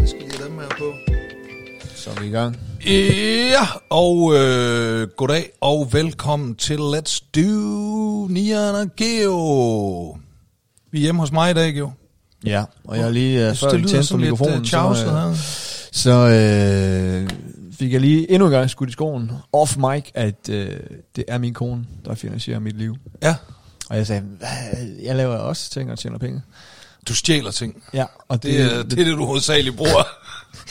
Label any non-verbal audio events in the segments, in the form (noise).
her på. Så er vi i gang. Ja, og øh, goddag og velkommen til Let's Do Nian og Geo. Vi er hjemme hos mig i dag, Geo. Ja, og jeg har lige uh, Jeg før synes, det jeg lyder tændte for sådan lidt mikrofonen, uh, tjavset så, her. så øh, fik jeg lige endnu en gang skudt i skoen off mic, at øh, det er min kone, der finansierer mit liv. Ja, Og jeg sagde, "Hva? jeg laver også ting og tjener penge. du stjæler ting. Ja, og det, Det er det, er det du hovedsageligt bruger.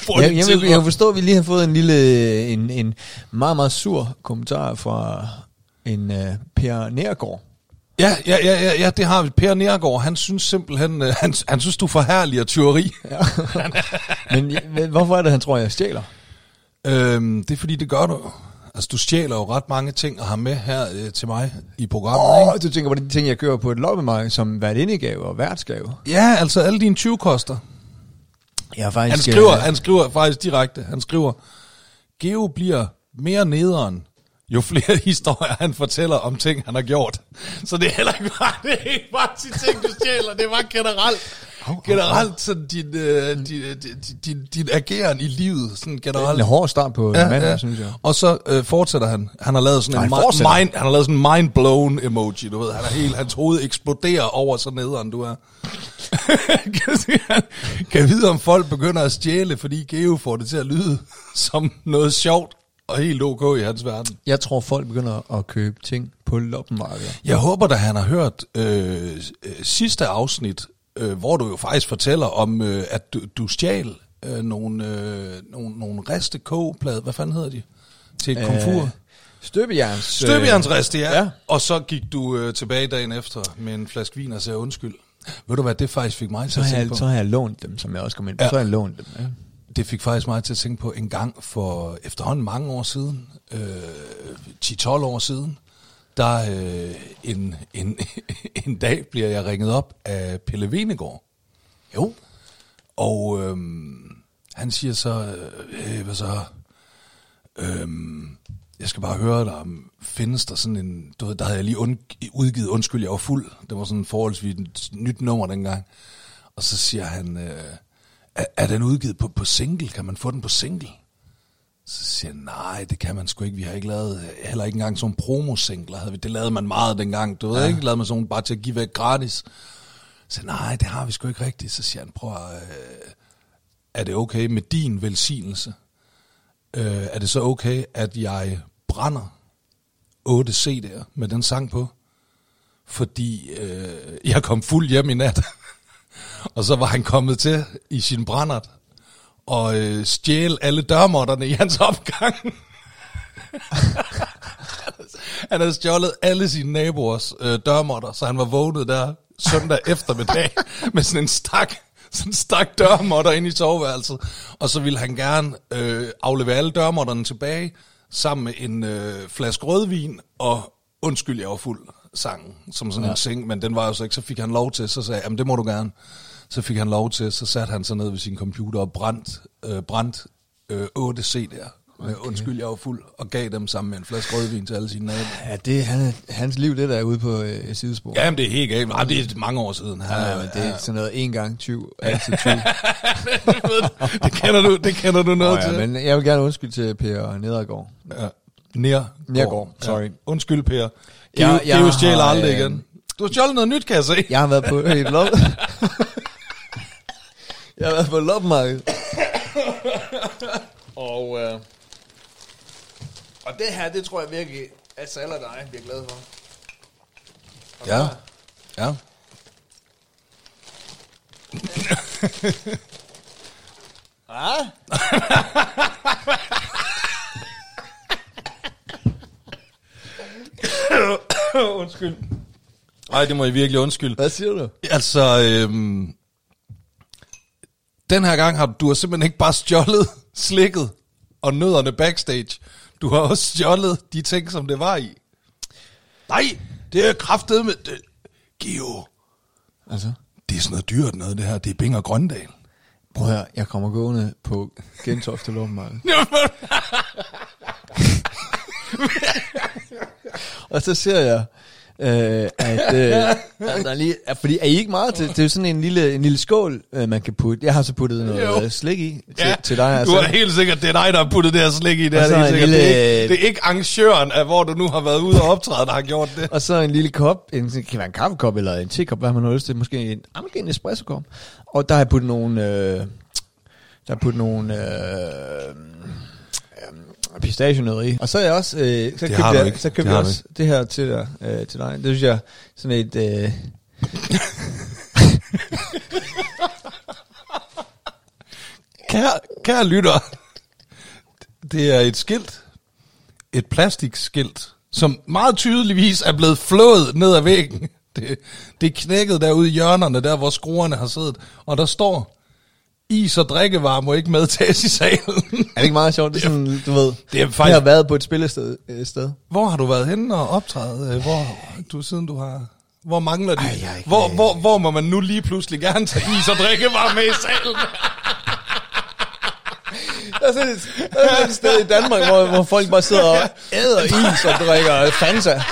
bruger jeg, din jeg, tid jeg, på. jeg kan forstå, at vi lige har fået en lille, en, en meget, meget sur kommentar fra en uh, Per Nergård. Ja, ja, ja, ja, ja, det har vi. Per Nergård, han synes simpelthen, øh, han, han synes, du forherliger tyveri. (laughs) Men jeg- hvorfor er det, han tror, jeg stjæler? Øhm, det er fordi, det gør du. Altså, du stjæler jo ret mange ting og har med her øh, til mig i programmet, Åh, du tænker på de ting, jeg kører på et loppemarked, som værtindegave og værtsgave. ikke? Ja, altså alle dine 20 koster. Jeg har faktisk... Han øh, skriver, han skriver faktisk direkte, han skriver, Geo bliver mere nederen, jo flere (laughs) historier han fortæller om ting, han har gjort. Så det er heller ikke bare, (laughs) det er ikke bare de ting, du stjæler, det var generelt. Generelt sådan din, øh, din, øh, din, din, din ageren i livet, sådan en generelt. hård start på ja, mandag, ja. synes jeg. Og så øh, fortsætter han. Han har lavet sådan Nej, en han mi- fortsætter. mind, han har lavet sådan en mind blown emoji, du ved. Han er helt, hans hoved eksploderer over så nederen du (laughs) er. kan, kan vide, om folk begynder at stjæle, fordi Geo får det til at lyde som noget sjovt og helt ok i hans verden. Jeg tror, folk begynder at købe ting på loppemarkeder. Jeg håber da, han har hørt øh, øh, sidste afsnit, øh, hvor du jo faktisk fortæller om, øh, at du, du stjal øh, nogle, øh, nogle, nogle riste kogeplade, hvad fanden hedder de, til et komfur. Øh, Støbejerns... øh, Støbejernsriste, Øh, ja. ja. ja. Og så gik du øh, tilbage dagen efter med en flaske vin og sagde undskyld. Ved du hvad, det faktisk fik mig til Så at har, tænke jeg, på. så har jeg lånt dem, som jeg også kom ind på. Ja. Ja. Så har jeg lånt dem, ja. Det fik faktisk mig til at tænke på en gang for efterhånden mange år siden, øh, 10-12 år siden, der øh, en, en, (laughs) en dag bliver jeg ringet op af Pelle Venegård. Jo. Og øh, han siger så, øh, hvad så, Øhm, jeg skal bare høre dig, om- findes der sådan en, du ved, der havde jeg lige und, udgivet Undskyld, jeg var fuld. Det var sådan en forholdsvis et nyt nummer dengang. Og så siger han, øh, er, er den udgivet på, på single? Kan man få den på single? Så siger han, nej, det kan man sgu ikke. Vi har ikke lavet, heller ikke engang sådan promosingler. havde vi. Det lavede man meget dengang, du ved ja. ikke? Lavede man sådan nogle bare til at give væk gratis. Så nej, det har vi sgu ikke rigtigt. Så siger han, prøv at, øh, er det okay med din velsignelse? øh, er det så okay, at jeg brænder 8 CD'er med den sang på? Fordi øh, jeg kom fuld hjem i nat, (laughs) og så var han kommet til i sin brændert og øh, stjæle alle dørmåtterne i hans opgang. han havde stjålet alle sine naboers øh, dørmåtter, så han var vågnet der søndag (laughs) eftermiddag med sådan en stak, sådan en stak dørmåtter ind i soveværelset. Og så ville han gerne øh, aflevere alle dørmåtterne tilbage sammen med en øh, flaske rødvin og undskyld, jeg var fuld sangen, som sådan ja. en sing, men den var jo så ikke, så fik han lov til, så sagde jeg, jamen det må du gerne. Så fik han lov til, så satte han sig ned ved sin computer og brændte øh, brændt, øh, 8 CD'er. Okay. Undskyld, jeg var fuld, og gav dem sammen med en flaske rødvin til alle sine naboer. ja det, han, hans liv, det der er ude på øh, et sidespor. Jamen, det er helt galt. Jamen, det er mange år siden. Han, Ja, men det er sådan noget en gang 20, altid (laughs) 20. (laughs) det, kender du, det kender du noget oh, Nå, ja, til. ja, Men... men jeg vil gerne undskylde til Per Nedergaard. Ja. Nær. Nergård, sorry. Ja. Undskyld, Per. Ja, Geo, jeg Geo stjæler har, aldrig øh, igen. Du har stjålet noget nyt, kan jeg se. Jeg har (laughs) været på et lop... jeg har været på loppemarked. og, øh, og det her, det tror jeg virkelig, at Sal og dig bliver glad for. Ja. (laughs) Ja. Ah? (laughs) undskyld. Nej, det må I virkelig undskylde. Hvad siger du? Altså, øhm, den her gang har du, du har simpelthen ikke bare stjålet (laughs) slikket og nødderne backstage. Du har også stjålet de ting, som det var i. Nej, det er kraftet med... Det. Geo, Altså? det er sådan noget dyrt noget, det her. Det er Bing og Grøndal. Prøv at høre, jeg kommer gående på Gentofte (laughs) Loppemarked. og så ser jeg øh, at, (laughs) øh, at der lige, at- fordi er I ikke meget til, til sådan en lille, en lille skål, øh, man kan putte? Jeg har så puttet noget Jo. jo. slik i til, ja. til dig. altså. du er helt sikkert, det er dig, der har puttet det her slik i. Det, Og er, det, så helt en sikkert. lille- det, er ikke, det er ikke arrangøren af, hvor du nu har været ude og optræde, der har gjort det. Og så en lille kop, en, det kan være en kaffekop eller en tekop, hvad man har lyst til, måske en, ah, måske en espressokop. Og der har jeg puttet nogle, øh, der har jeg puttet nogle øh, øh, pistachienødder i. Og så er jeg også, øh, så det købte har du jeg, ikke. så Det købte har jeg du også det her til dig, øh, til dig. Det synes jeg sådan et, øh, Kære, kære lytter, det er et skilt, et plastikskilt, som meget tydeligvis er blevet flået ned ad væggen. Det, det er knækket derude i hjørnerne, der hvor skruerne har siddet, og der står, is og drikkevarer må ikke medtages i salen. er det ikke meget sjovt? Det er sådan, du ved, det er jeg faktisk- har været på et spillested. Øh, sted. Hvor har du været henne og optræde, øh, hvor du siden du har... Hvor mangler de? Ej, jeg er ikke- hvor, hvor, hvor må man nu lige pludselig gerne tage is og drikkevarer med i salen? Der er sådan et, der er sådan et sted i Danmark, hvor, hvor folk bare sidder og æder is og drikker Fanta.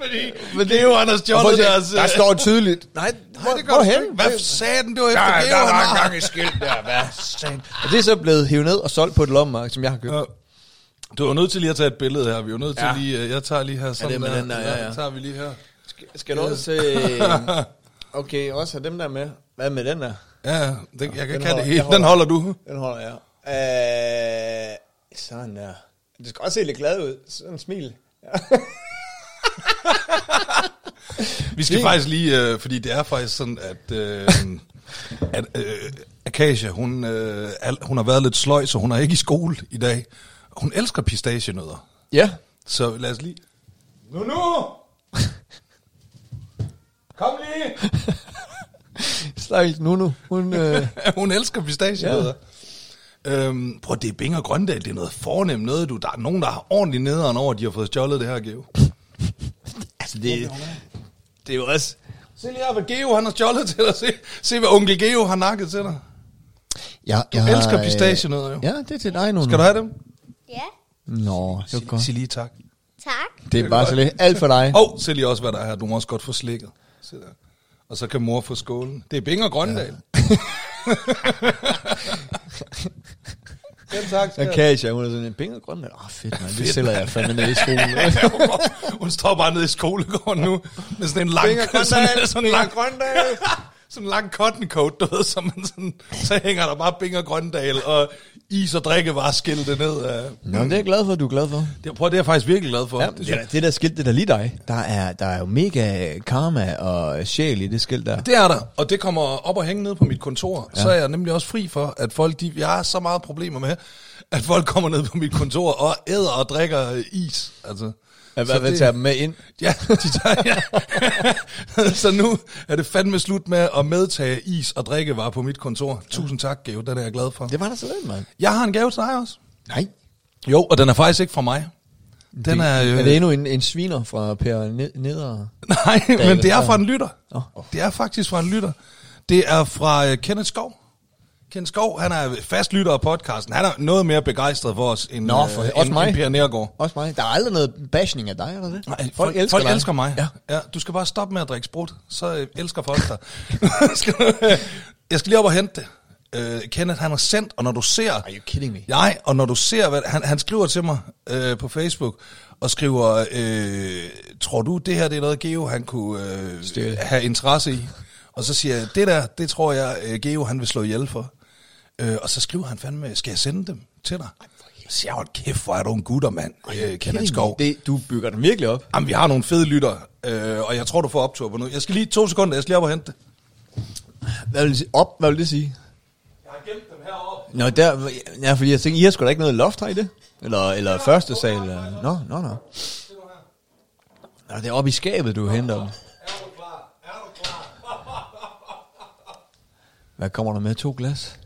Fordi Men det er jo Anders Og folk Jolle, siger, deres... øh, der står tydeligt. Nej, hvor, Nej, det gør hvor du hen? sgu ikke. Hvad satan, det var efter det, der var gang i skilt der, hvad sagde Og det er så blevet hævet ned og solgt på et lommemarked, som jeg har købt. Ja. Du er jo nødt til lige at tage et billede her. Vi er jo nødt til Ja. lige... øh, Jeg tager lige her sådan det er med den der, ja, ja. tager vi lige her. Skal, skal du også... (laughs) Okay, også have dem der med. Hvad med den der? Ja, ja, den, jeg kan den ikke have holder- det hele. jeg holder. Den holder du. Den holder jeg. Øh, sådan der. Du skal også se lidt glad ud. Sådan en smil. Vi skal Fint. faktisk lige... Øh, fordi det er faktisk sådan, at... Øh, at øh, Akasia, hun, øh, al- hun har været lidt sløj, så hun er ikke i skole i dag. Hun elsker pistachienødder. Ja. Så lad os lige... Nu, (laughs) nu! Kom lige! Stakkels Nunu. Hun, øh, (laughs) hun elsker pistachenødder. Ja. Øhm, prøv, det er Bing og Grøndal, det er noget fornemt noget, du. Der er nogen, der har ordentligt nederen over, at de har fået stjålet det her, Geo. (laughs) altså, det, det er jo også... Se lige her, hvad Geo han har stjålet til dig. Se, se hvad onkel Geo har nakket til dig. Jeg, øh, Du elsker pistachienødder, jo. Ja, det er til dig, Nunu. Skal du have dem? Ja, Nå, det var Sig, godt. sig lige tak. tak. Det er bare så lidt alt for dig. Og oh, se lige også, hvad der er her. Du må også godt få slikket. Se der. Og så kan mor få skålen. Det er Bing og Grøndal. (laughs) Ja. Selv tak, Så skat. Kasia, hun er sådan en penge og grøn, men åh fedt, man, det sælger jeg fandme ned i (laughs) skolen. (laughs) Hun står bare nede i skolegården nu, med sådan en Bing og lang, Grøndal, sådan, sådan en Bing og lang, Grøndal. (laughs) sådan en lang cotton coat, du ved, så, man sådan, så hænger der bare Bing og Grøndal og is og drikkevareskilte ned. af- Nå, men det er jeg glad for, du er glad for. Det, prøv, det er jeg faktisk virkelig glad for. Ja, det, det, er, det der skilt, det er da lige dig. Der er, der er jo mega karma og sjæl i det skilt der. Det er der, og det kommer op og hænge ned på mit kontor. Ja. Så er jeg nemlig også fri for, at folk, de, jeg har så meget problemer med, at folk kommer ned på mit kontor og æder og drikker øh, is. Altså, At så hvad det- tager dem med ind? Ja, de tager, ja. (laughs) så nu er det fandme slut med at medtage is og drikkevarer på mit kontor. Tusind tak, Gave, den er jeg glad for. Det var da så lidt, mand. Jeg har en gave til dig også. Nej. Jo, og den er faktisk ikke fra mig. Den er, øh, Er det endnu en, en sviner fra Per Ned- Neder? (laughs) Nej, men det er fra en lytter. Nå. Det er faktisk fra en lytter. Det er fra øh, Kenneth Skov. Kenneth Skov, han er fast lytter af podcasten. Han er noget mere begejstret for os end, Nå, for- øh, også end, mig. end Per Nergård. Også mig. Der er aldrig noget bashing af dig, eller det? Nej, folk, folk, elsker, folk elsker mig. Ja. Ja, du skal bare stoppe med at drikke sprut, så øh, elsker folk dig. (laughs) Skal du- jeg skal lige op og hente det. Øh, Kenneth, han har sendt, og når du ser... Are you kidding me? Nej, og når du ser, hvad, han, han skriver til mig øh, på Facebook, og skriver, øh, tror du, det her det er noget, Geo han kunne øh, Stjæle. have interesse i? Og så siger jeg, det der, det tror jeg, øh, Geo han vil slå ihjel for. Øh, og så skriver han fandme, skal jeg sende dem til dig? Så siger jeg, hold kæft, hvor er du en gutter, mand, øh, Kenneth Skov. Det, du bygger den virkelig op. Jamen, vi har nogle fede lytter, øh, og jeg tror, du får optur på noget. Jeg skal lige to sekunder, jeg skal lige op og hente det. Hvad vil det sige? Op, hvad vil det sige? Jeg har gemt dem (laughs) heroppe. Nå, der, ja, fordi jeg tænkte, I har sgu da ikke noget loft her i det? Eller, eller første sal? Eller, nå, nå, nå. Nå, det er oppe i skabet, du henter dem. Er du klar? Er du klar? Hvad kommer der med? To glas?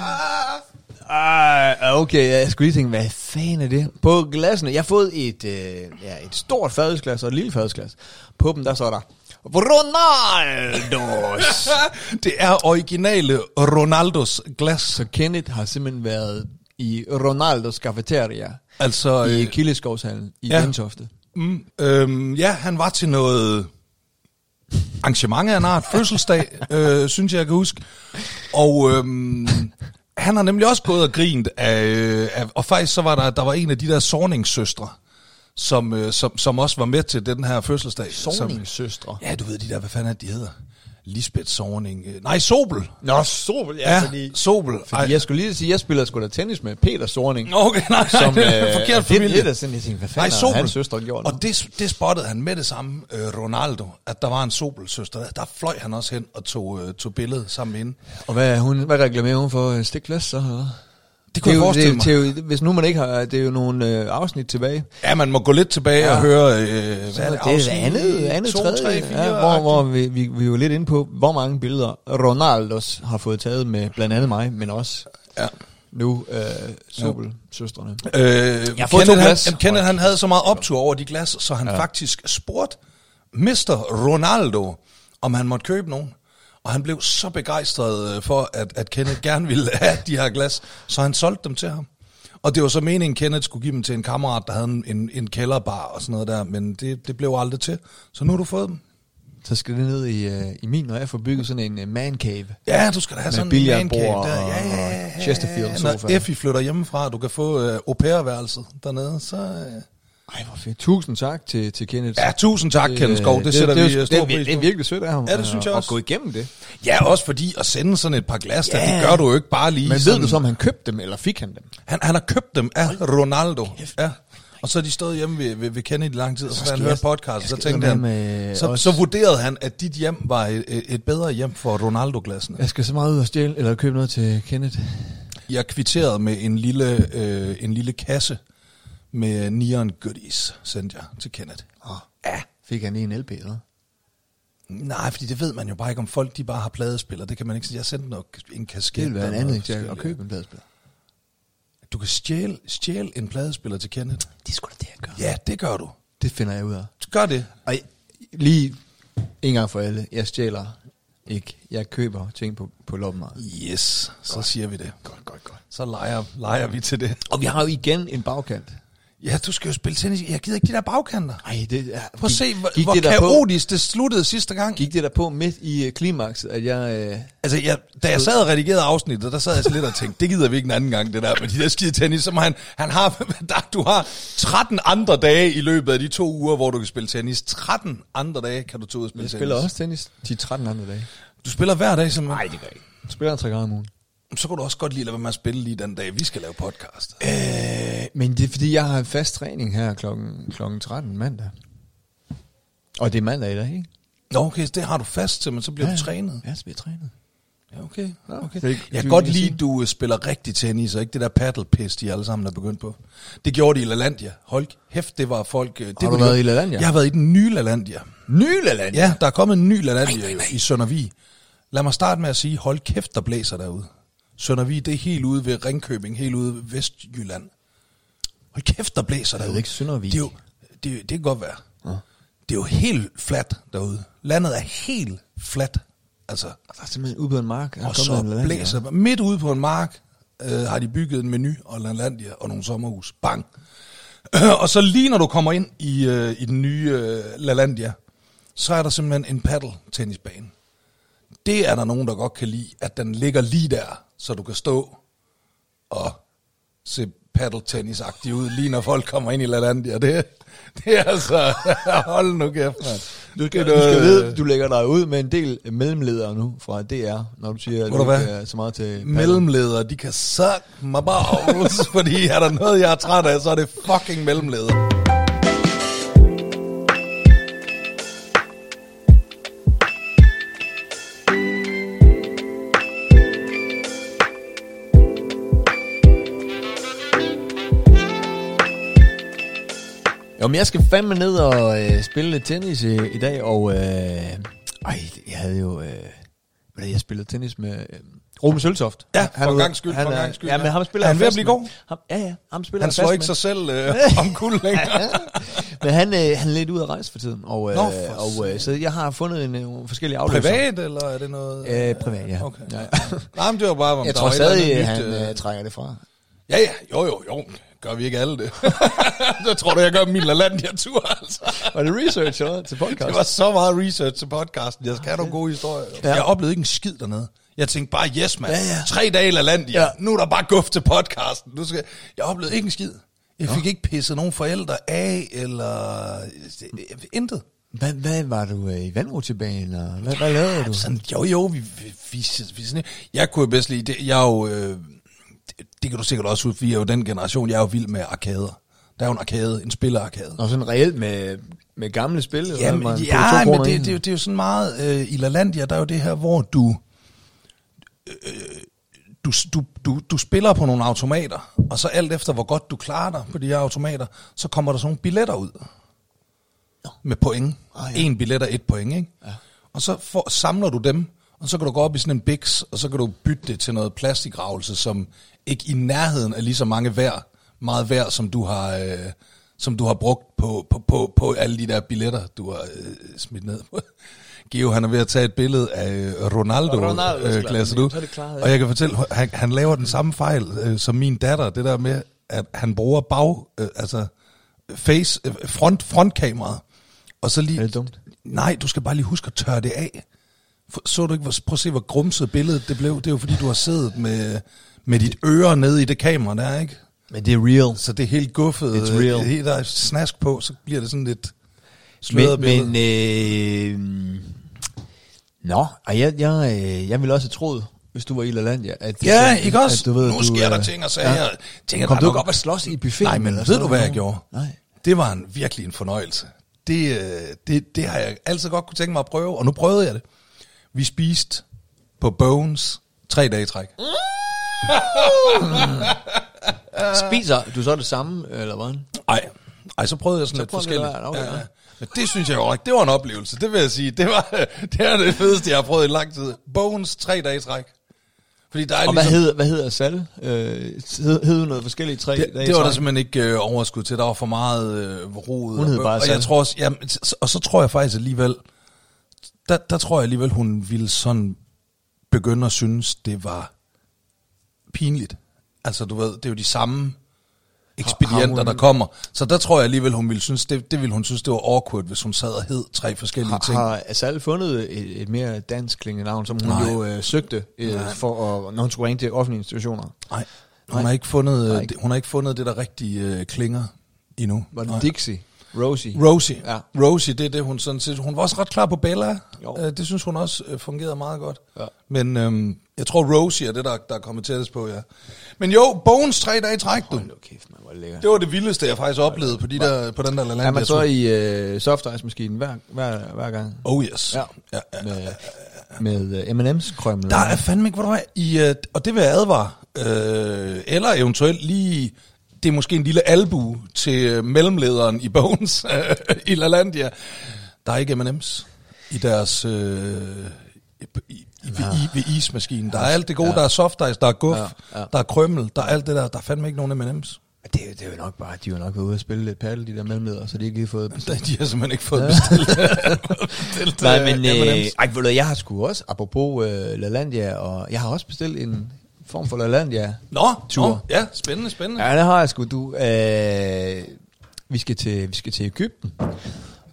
Ej, Ah, okay, ja, jeg skulle lige tænke, hvad fanden er det? På glasene, jeg har fået et, øh, ja, et stort fadelsglas og et lille fadelsglas. På dem, der står der, Ronaldos! det er originale Ronaldos glas. Så Kenneth har simpelthen været i Ronaldos Cafeteria Altså, i øh, Kildeskovshallen i ja. ja. Gentofte. mm, øhm, ja, han var til noget arrangement af en art, (laughs) fødselsdag, øh, synes jeg, jeg kan huske. Og øhm, han har nemlig også gået og grint af, øh, af, og faktisk så var der, der var en af de der Sorning-søstre, som, øh, som, som også var med til den her fødselsdag. som- Sorningssøstre. Ja, du ved de der, hvad fanden er de hedder? Lisbeth Sorning. øh, Nej, Sobel. Nå, Sobel, ja, Ja, fordi... Sobel. Fordi jeg skulle lige sige, jeg spiller sgu da tennis med Peter Sorning. Nå, Okay, nej, nej, (laughs) som, øh, det er forkert det er familie. lidt af sådan, jeg tænkte, hvad fanden har hans søster gjort? Og det, det spottede han med det samme, øh, Ronaldo, at der var en Sobel-søster. Der, der fløj han også hen og tog, øh, tog billedet sammen med hende. Og hvad, er hun, hvad reklamerer hun for øh, stikglas så? Eller? Det kunne er jeg jo- forestille det, er jo- det, er jo- Hvis nu man ikke har, det er jo nogle øh, afsnit tilbage. Ja, man må gå lidt tilbage ja. og høre, øh, hvad Så er det, afsnit det andet, andet 2, tredje, 3, 4, ja, hvor, hvor vi, vi, vi er jo lidt inde på, hvor mange billeder Ronaldos har fået taget med blandt andet mig, men også Ja. nu øh, Sobel-søstrene. Øh, Jeg har jeg Kenneth, fået to han, glas. jamen, Kenneth han havde så meget optur over de glas, så han ja. faktisk spurgte Mr. Ronaldo, om han måtte købe nogen. Og han blev så begejstret øh, for, at, at Kenneth gerne ville have de her glas, så han solgte dem til ham. Og det var så meningen, Kenneth skulle give dem til en kammerat, der havde en, en, en kælderbar og sådan noget der, men det, det blev aldrig til. Så nu har du fået dem. Så skal det ned i, øh, i min, når jeg får bygget sådan en øh, man cave. Ja, du skal da have Med sådan en billardbord mancave og- og Chesterfield-sofa. Når Effie flytter hjemmefra, og du kan få øh, au pair-værelset dernede, så... Øh, Ej, hvor fedt. Tusind tak til, til Kenneth. Ja, tusind tak, Kenneth Skov. Det, det sætter Øh, det, vi det, øh, stor det, det, pris det er på. virkelig sødt af ham. Ja, det synes jeg øh, også. At gå igennem det. Ja, også fordi at sende sådan et par glas, der, Ja. det gør du jo ikke bare lige Men ved sådan. du så, om han købte dem, eller fik han dem? Han, han har købt dem af Ronaldo. Ja. Og så er de stået hjemme ved, ved, ved Kenneth i lang tid, og så skal da han jeg- hørte podcasten, jeg så skal tænkte eddermame, han, øh, så, også- så vurderede han, at dit hjem var et, et bedre hjem for Ronaldo-glassene. Jeg skal så meget ud og stjæle, eller købe noget til Kenneth. Jeg kvitterede med en lille, øh, en lille kasse med neon goodies, sendte jeg til Kenneth. Oh. Ja. Fik han lige en LP, eller? Nej, fordi det ved man jo bare ikke, om folk de bare har pladespillere. Det kan man ikke sige. Jeg sendte nok en kasket. Det ville være en eller anden noget til at forskelligt. købe en pladespiller. Du kan stjæle, stjæle en pladespiller til Kenneth. Det skulle da det, jeg gør. Ja, det gør du. Det finder jeg ud af. Gør det. Og jeg- lige en gang for alle, jeg stjæler ikke. Jeg køber ting på, på loppemarkedet. Yes, så godt. siger vi det. Godt, godt, godt. Så leger, leger vi til det. Og vi har jo igen en bagkant. Ja, du skal jo spille tennis. Jeg gider ikke de der bagkanter. Ej, det er... Prøv at se, hvor, gik hvor det der kaotisk det sluttede sidste gang. På, gik det der på midt i øh, klimakset, at jeg... Øh, Altså, jeg, da jeg sad og redigerede afsnittet, der sad jeg så lidt og tænkte, det gider vi ikke en anden gang, det der med de der skide tennis, som han, han har, (laughs) der, du har 13 andre dage i løbet af de to uger, hvor du kan spille tennis. 13 andre dage kan du tage ud og spille jeg tennis. spiller også tennis de 13 andre dage. Du spiller hver dag, som Nej, det gør jeg ikke. Jeg spiller en tre gange om ugen. Så kunne du også godt lide at lade være med at spille lige den dag, vi skal lave podcast. Øh, men det er fordi, jeg har en fast træning her klokken, klokken 13 mandag. Og det er mandag i dag, ikke? Nå, okay, så det har du fast til, men så bliver ja. du trænet. Ja, så bliver jeg trænet. Ja, okay. okay. det er ikke- Jeg det er kan godt ikke lide, sige. at du øh, spiller rigtig tennis, og ikke det der paddle-pis, de alle sammen er begyndt på. Det gjorde de i LaLandia. Hold kæft, det var folk... øh, Det Har du kunne de været jo- i LaLandia? Jeg har været i den nye LaLandia. Nyland! Ja, der er kommet en ny LaLandia i Søndervi. Lad mig starte med at sige, hold kæft, der blæser derude. Søndervi, det er helt ude ved Ringkøbing, helt ude ved Vestjylland. Hold kæft, der blæser ved derude. ikke, Søndervig. Det, er jo, det, er- det kan godt være. Ja. Det er jo helt fladt derude. Landet er helt fladt. Altså, Der er simpelthen ude på en mark. og så blæser det. Midt ude på en mark øh, har de bygget en menu og Lanlandia og nogle sommerhus. Bang. (clears throat) og så lige når du kommer ind i, øh, i den nye øh, Lalandia, så er der simpelthen en paddle-tennisbane. Det er der nogen, der godt kan lide, at den ligger lige der, så du kan stå og se paddle-tennis-agtig ud, lige når folk kommer ind i Lalandia. Det, det er altså... (laughs) Hold nu kæft, mand. Det Du er skal, du skal noget- øh, vide, du lægger dig ud med en del mellemledere nu fra DR, når du siger, at Ved du du ikke hvad? er så meget til... mellemledere, de kan suck mig balls, (laughs) fordi er der noget, jeg er træt af, så er det fucking mellemledere. Jo, men jeg skal fandme ned og øh, spille lidt tennis i, i dag, og... Øh, ej, jeg havde jo... Øh, hvad er det, jeg spillede tennis med... Øh, Ruben Søltoft. Ja, Han- for han er en ude- gangs skyld, han for en er- gangs skyld, Ja, ja. men ham spiller Er han ved at fast blive med. god? Ham, ja, ja, ham spiller Han fast slår ikke med. sig selv (laughs) øh, om kul længere. Men han, øh, han er lidt ude at rejse for tiden, og, øh, Nå, for og øh, så jeg har fundet en, øh, nogle forskellige afløser. Privat, eller er det noget? Øh, privat, ja. Okay. Ja. (laughs) Nej, men det var bare, om Jeg der tror var et eller stadig, andet han nyt, øh, øh, trækker det fra. Ja, ja, jo, jo, jo. Gør vi ikke alle det? (laughs) så tror du, jeg gør min LaLandia-tur, altså. Var det research eller hvad? til podcast? Det var så meget research til podcasten. Jeg skal have nogle gode historier. Ja. Jeg oplevede ikke en skid dernede. Jeg tænkte bare, yes, mand. Ja, ja. Tre dage i LaLandia. Ja. Ja. Nu er der bare guf til podcasten. Nu skal... Jeg oplevede ikke en skid. Jeg fik ikke pisset nogen forældre af, eller intet. Hvad, hvad var du øh, i vandrutsjebanen? og Hvad, hvad lavede du? Sådan, jo, jo, vi, vi, vi, vi sådan, jeg kunne jo bedst lide, det, jeg er jo, øh, det, det kan du sikkert også ud, vi er jo den generation, jeg er jo vild med arkader. Der er jo en arkade, en spillerarkade. Nå, sådan reelt med, med gamle spil? eller hvad? Jamen, Man putter ja, to men kroner det, ind. det, er jo- det er jo sådan meget, øh, i LaLandia, der er jo det her, hvor du, øh, du, du, du, du spiller på nogle automater, og så alt efter, hvor godt du klarer dig på de her automater, så kommer der sådan nogle billetter ud. Med point. Ah, Ah, ja. ja. En billet og et point, ikke? Ja. Og så får, samler du dem, og så kan du gå op i sådan en biks, og så kan du bytte det til noget plastikravelse, som ikke i nærheden er lige så mange værd, meget værd, som du har, øh, som du har brugt på, på, på, på alle de der billetter, du har øh, smidt ned på. (laughs) Geo, han er ved at tage et billede af øh, Ronaldo, Ronaldo, øh, klart. klasse du. Så er det klaret, ja. Og jeg kan fortælle, han, han laver den samme fejl øh, som min datter, det der med, at han bruger bag, øh, altså face, øh, front, frontkameraet, og så lige... Er det dumt? Nej, du skal bare lige huske at tørre det af. For, så du ikke, hvor, prøv at se, hvor grumset billedet det blev. Det er jo fordi, du har siddet med, med dit øre nede i det kamera der, ikke? Men det er real. Så det er helt guffet, It's real. øh, helt der er snask på, så bliver det sådan lidt sløret Men, billede. men øh, Nå, og jeg, jeg, øh, jeg ville også have troet, hvis du var i Lalandia, at... øh, Ja, at- ikke også? at Du ved, nu sker du, der øh, ting og sager. Ja. Tænker, Kom der du er ikke nok- op og slås i buffeten? Nej, men eller ved sådan du, hvad noget? jeg gjorde? Nej. Det var en, virkelig en fornøjelse. Det, øh, det, det har jeg altid godt kunne tænke mig at prøve, og nu prøvede jeg det. Vi spiste på Bones tre dage i træk. Mm. Spiser du så det samme, eller hvad? Nej. Ej, så prøvede jeg sådan så lidt prøvede forskelligt. du det, okay, ja. Men det synes jeg jo ikke. Det var en oplevelse, det vil jeg sige. Det, var, (laughs) det er det fedeste, jeg har prøvet i lang tid. Bones tre dage i træk. Fordi der er ligesom, Og hvad hedder, hvad hedder salg? Øh, hed, hed noget forskelligt i tre det, dage? det i var der træk? simpelthen ikke øh, overskud til. Der var for meget øh, rod. Hun hed og, bare og, Sanne. jeg tror også, jamen, s- og så tror jeg faktisk alligevel, der, der tror jeg alligevel, hun ville sådan begynde at synes, det var pinligt. Altså du ved, det er jo de samme Har- ekspedienter, har hun- der kommer. Så der tror jeg alligevel, hun ville synes, det, det ville hun synes, det var awkward, hvis hun sad og hed tre forskellige ting. Har, har Asal fundet et, et mere dansk klingende navn, som hun Nej. Nej. jo øh, søgte, øh, for at, når hun skulle ringe til offentlige institutioner? Nej, hun har ikke fundet, Nej. øh, det- hun har ikke fundet det, der rigtige øh, klinger endnu. Var det Nej. Dixie? Rosie? Rosie. Ja. Ja. Rosie, det er det, hun sådan set... Hun var også ret klar på Bella. Jo. Øh, det synes hun også øh, fungerede meget godt. Ja. Men øhm, jeg tror, Rosie er det, der, der er kommet tættest på, ja. Men jo, Bones tre dage i træk, du. Hold nu kæft, man, hvor er det lækkert. Det var det vildeste, jeg faktisk oplevede på, de der, på den der Er Lalandia. man så i øh, softice-maskinen hver, hver, hver gang? Oh yes. Ja. ja, ja. Med, med øh, M&M's krømmel? Der er fandme ikke, hvor du er i, øh, og det vil jeg advare, øh, eller eventuelt lige, det er måske en lille albu til øh, mellemlederen i Bones (laughs) øh, i LaLandia. Der er ikke M&M's i deres, øh, i, i, i, ved, i, ved ismaskinen. Der er alt det gode, der er soft ice, der er guf, Ja, ja. der er krømmel, der er alt det der. Der er fandme ikke nogen M&M's. Det, er jo- det er jo nok bare, de har jo nok været ude og spille lidt paddle, de der mellemledere, så de ikke lige (laughs) fået Der- De har simpelthen ikke fået (laughs) bestilt, bestilt Nej, øh, men øh, M&M's. ej, ved du, hvad, jeg har sgu også, apropos øh, LaLandia, og jeg har også bestilt en form for LaLandia. Nå, nå, tur. ja, spændende, spændende. Ja, det har jeg sgu, du. Øh, vi, skal til, vi skal til Ægypten.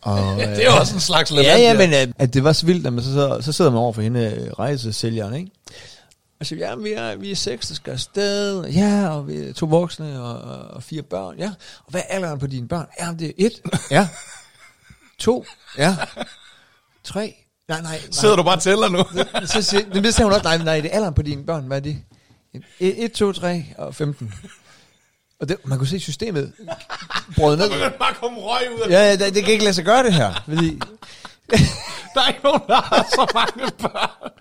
Og, (laughs) øh, Det er også en slags Ja, LaLandia. ja, men øh, at det var så vildt, at man så, så, så sidder man over for hende øh, rejsesælgeren, ikke? Og så ja, vi er, vi er seks, der skal afsted. Ja, og vi er to voksne og, og- og fire børn. Ja, og hvad er alderen på dine børn? Ja, det er et. Ja. To. Ja. Tre. Nej, nej. nej. Sidder du bare og tæller nu? så siger, men det sagde hun også, nej, nej, det er alderen på dine børn, hvad er det? 1, 2, 3 og 15. Og det, man kunne se systemet brød ned. begyndte bare at komme røg ud af Ja, ja, det, det kan ikke lade sig gøre det her, fordi Der er ikke nogen, der har så mange børn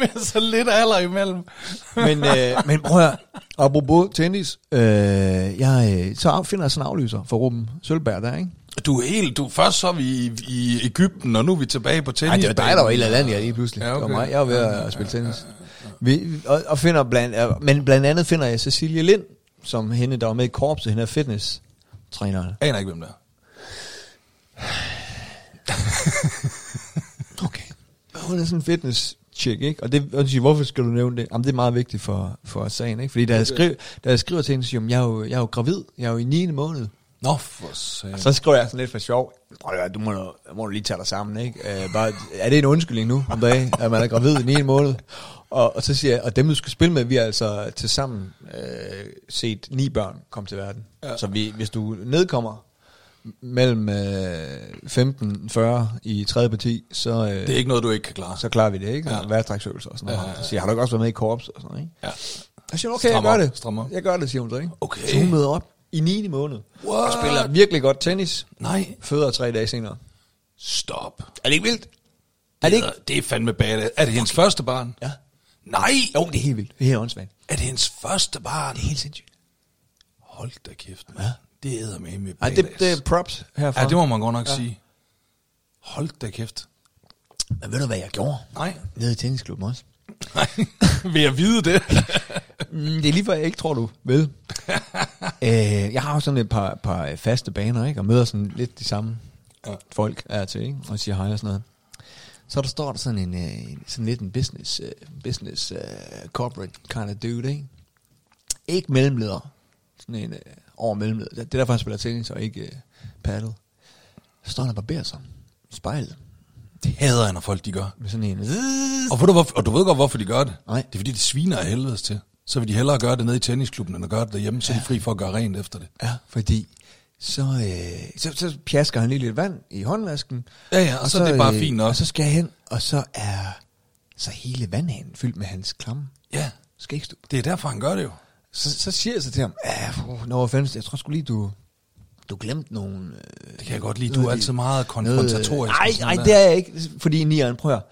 med så lidt alder imellem. men, øh, men prøv at høre, apropos tennis, øh, jeg, øh, så af- finder jeg sådan en aflyser for Ruben Sølberg der, ikke? Du er helt... Du, først så er vi i, i Ægypten, og nu er vi tilbage på tennis. Nej, det var dig, der var i eller andet, ja, lige pludselig. Ja, Ja, okay. okay. Det var mig, jeg var ved at spille tennis. Vi, og, og finder blandt, øh, men blandt andet finder jeg Cecilie Lind, som hende, der var med i korpset, hende er fitness-træneren. Jeg aner ikke, hvem der Okay. Hun er sådan en fitness chick, ikke? Og, det, og de siger, hvorfor skal du nævne det? Jamen, det er meget vigtigt for, for sagen, ikke? Fordi da jeg, skrev, da jeg skriver til hende, så siger hun, jeg, er jo, jeg er jo gravid, jeg er jo i 9. måned. Nå, for satan. Og så skriver jeg sådan lidt for sjov, prøv at høre, du må, nu- må du lige tage dig sammen, ikke? Øh, bare, er det en undskyldning nu om dagen, at man er gravid i 9. måned? Og, og så siger jeg, og dem du skal spille med, vi har altså til sammen øh, set ni børn komme til verden. Ja. Så vi, hvis du nedkommer mellem øh, 15 40 i tredje parti, så, øh, Det er ikke noget, du ikke kan klare. så klarer vi det, ikke? Ja. Ja. Værtræksøvelser og sådan noget. Ja, ja, ja. Så siger jeg, har du ikke også været med i korps og sådan noget, ikke? Ja. Jeg siger, hun, okay, Stram jeg gør op, det. stram op. Jeg gør det, siger hun så, ikke? Okay. Så hun møder op i 9. måned. What? Og spiller virkelig godt tennis. Nej, Føder tre dage senere. stop. Er det ikke vildt? Er det, ikke? det er fandme badass. Er det hendes første barn? Ja. Nej! Jo, det er helt vildt. Det er helt åndssvagt. Er det hendes første barn? Det er helt sindssygt. Hold da kæft, man. Ja. Det æder med med Ej, det, det er props herfra. Ja, det må man godt nok ja. sige. Hold da kæft. Men ved du, hvad jeg gjorde? Nej. Nede i tennisklubben også. Nej. Vil jeg vide det? Mm, det er lige før, jeg ikke tror, du ved. øh, jeg har jo sådan et par, par øh, faste baner, ikke? Og møder sådan lidt de samme Ja. ja. folk er til, ikke? Og siger hej og sådan noget. Så der står der sådan en, øh, en- sådan lidt en business, øh, business øh, corporate kind of dude, ikke? Ikke mellemleder. Sådan en øh, over mellemleder. Det det er derfor, han spiller tennis og ikke øh, paddle. Så står han og barberer sig. i Spejlet. det hader jeg, når folk de gør. Med sådan en... Og, ved du, hvorfor, og du ved godt, hvorfor de gør det? Nej. Det er, fordi de sviner af helvedes til. Så vil de hellere gøre det nede i tennisklubben, end at gøre det derhjemme, så er de fri for at gøre rent efter det. Ja, fordi så, øh, så, så pjasker han lige lidt vand i håndvasken. Ja, ja, og så er det bare fint nok. Og så skal jeg hen, og så er så er hele vandhanen fyldt med hans klamme Ja, skægstub. det er derfor, han gør det jo. Så, så siger jeg så til ham, ja, no offense, jeg tror sgu lige, du, du glemte nogle... Øh, Det kan jeg godt lide. Du er altid meget konfrontatorisk. og sådan Nej, nej, der. det er jeg ikke, fordi nieren, prøv at høre.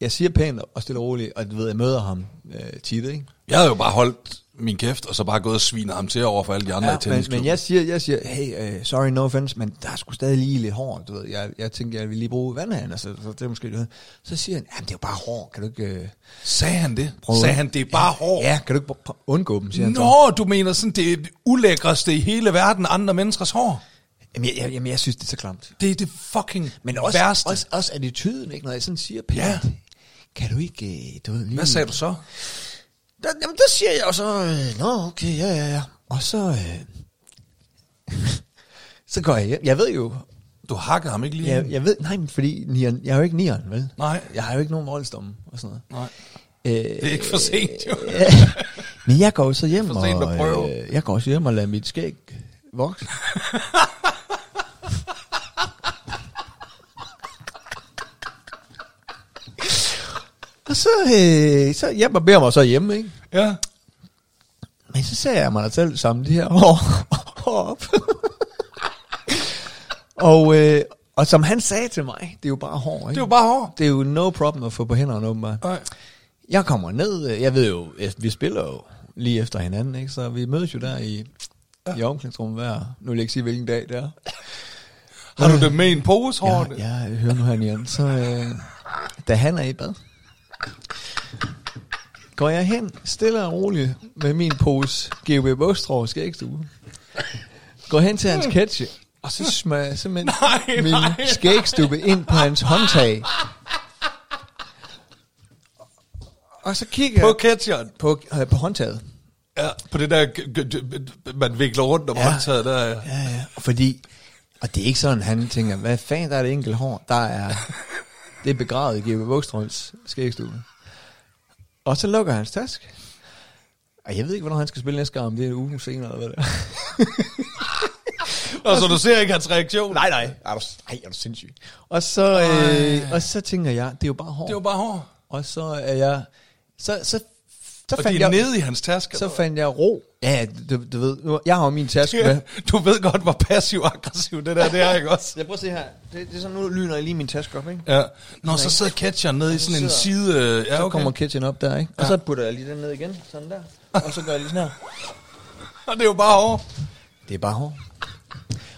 Jeg siger pænt og stille og roligt, og du ved, jeg møder ham øh, tit, ikke? Jeg havde jo bare holdt min kæft, og så bare gået og svinet ham til over for alle de andre ja, i Ja, men, men tennisklubben. jeg siger, jeg siger hey, uh, sorry, no offense, men der er sgu stadig lige lidt hår, du ved. Jeg, jeg tænkte, jeg ville lige bruge vandhanen, altså, så det er måske noget. Så siger han, jamen det er jo bare hår, kan du ikke uh, Sagde han det? prøve Sagde han, det er bare ja, hår? Ja, kan du ikke pr- pr- undgå dem, siger han så. Nå, du mener sådan, det er det ulækreste i hele verden, andre menneskers hår? Jamen jeg, jeg, jamen, jeg synes, det er så klamt. Det er det fucking Men også, værste. også, også attituden, ikke? Når jeg sådan siger pænt, Ja. ja. kan du ikke, øh, du ved, lige... Hvad sagde du så? Der, jamen, der siger jeg jo så, øh, nå, okay, ja, ja, ja. Og så, øh, (laughs) så går jeg hjem. Jeg ved jo, Du hakkede ham ikke lige? Jeg, jeg ved, nej, men fordi nieren, jeg er jo ikke nieren, vel? Nej. Jeg har jo ikke nogen voldsdomme og sådan noget. Nej, Øh, det er ikke for sent jo. ja. Men jeg går jo så hjem For sent at og, prøve. øh, jeg går også hjem og lader mit skæg vokse. og så, øh, så jeg barberer mig så hjemme, ikke? Ja. Men så sagde jeg mig da selv sammen det her hår (laughs) hår op. og, øh, og som han sagde til mig, det er jo bare hår, ikke? Det er jo bare hår. det er jo no problem at få på hænderne, åbenbart. Nej. Jeg kommer ned, øh, jeg ved jo, at vi spiller jo lige efter hinanden, ikke? så vi mødes jo der i, ja. i omklædningsrummet hver, nu vil jeg ikke sige, hvilken dag det er. Har du det med i en pose hår? Jeg, jeg hører nu her, Nian, så øh, da han er i bad, går jeg hen stille og roligt med min pose GV Bostrå skægstue. Går hen til hans ketchup, og så smører jeg (laughs) simpelthen Nej, min nej. skægstube ind på hans håndtag. Og så kigger På jeg ketcheren. på, øh, på håndtaget. Ja, på det der, g- g- g- man vikler rundt om ja. håndtaget der. ja. Ja, ja. Fordi, og det er ikke sådan, han tænker, hvad fanden, der er det enkelt hår, der (laughs) er, det er begravet i G.B. Vågstrøms skægstue. Og så lukker hans task. Og jeg ved ikke, hvornår han skal spille næste gang, om det er en uge senere eller hvad det er. Og så du ser ikke hans reaktion? Nej, nej. Er du, ej, er du sindssyg. Og så, øh, og så tænker jeg, det er jo bare hår. Det var bare hår. Og så er jeg, så, så, så Og fandt det er jeg, nede i hans taske. så fandt jeg ro. Ja, du, du ved, nu- jeg har jo min taske med. Du ved godt, hvor passiv-aggressiv det der det er, ikke også? Jeg prøver at se her. Det, det er sådan, nu lyner jeg lige min taske op, ikke? Ja. Nå, så sidder catcheren nede i sådan en side... øh, Ja, Så okay. kommer kitchen op der, ikke? Og så putter jeg lige den ned igen, sådan (laughs) der. Og så gør jeg lige sådan her. Og det er jo bare hår. Det er bare hår.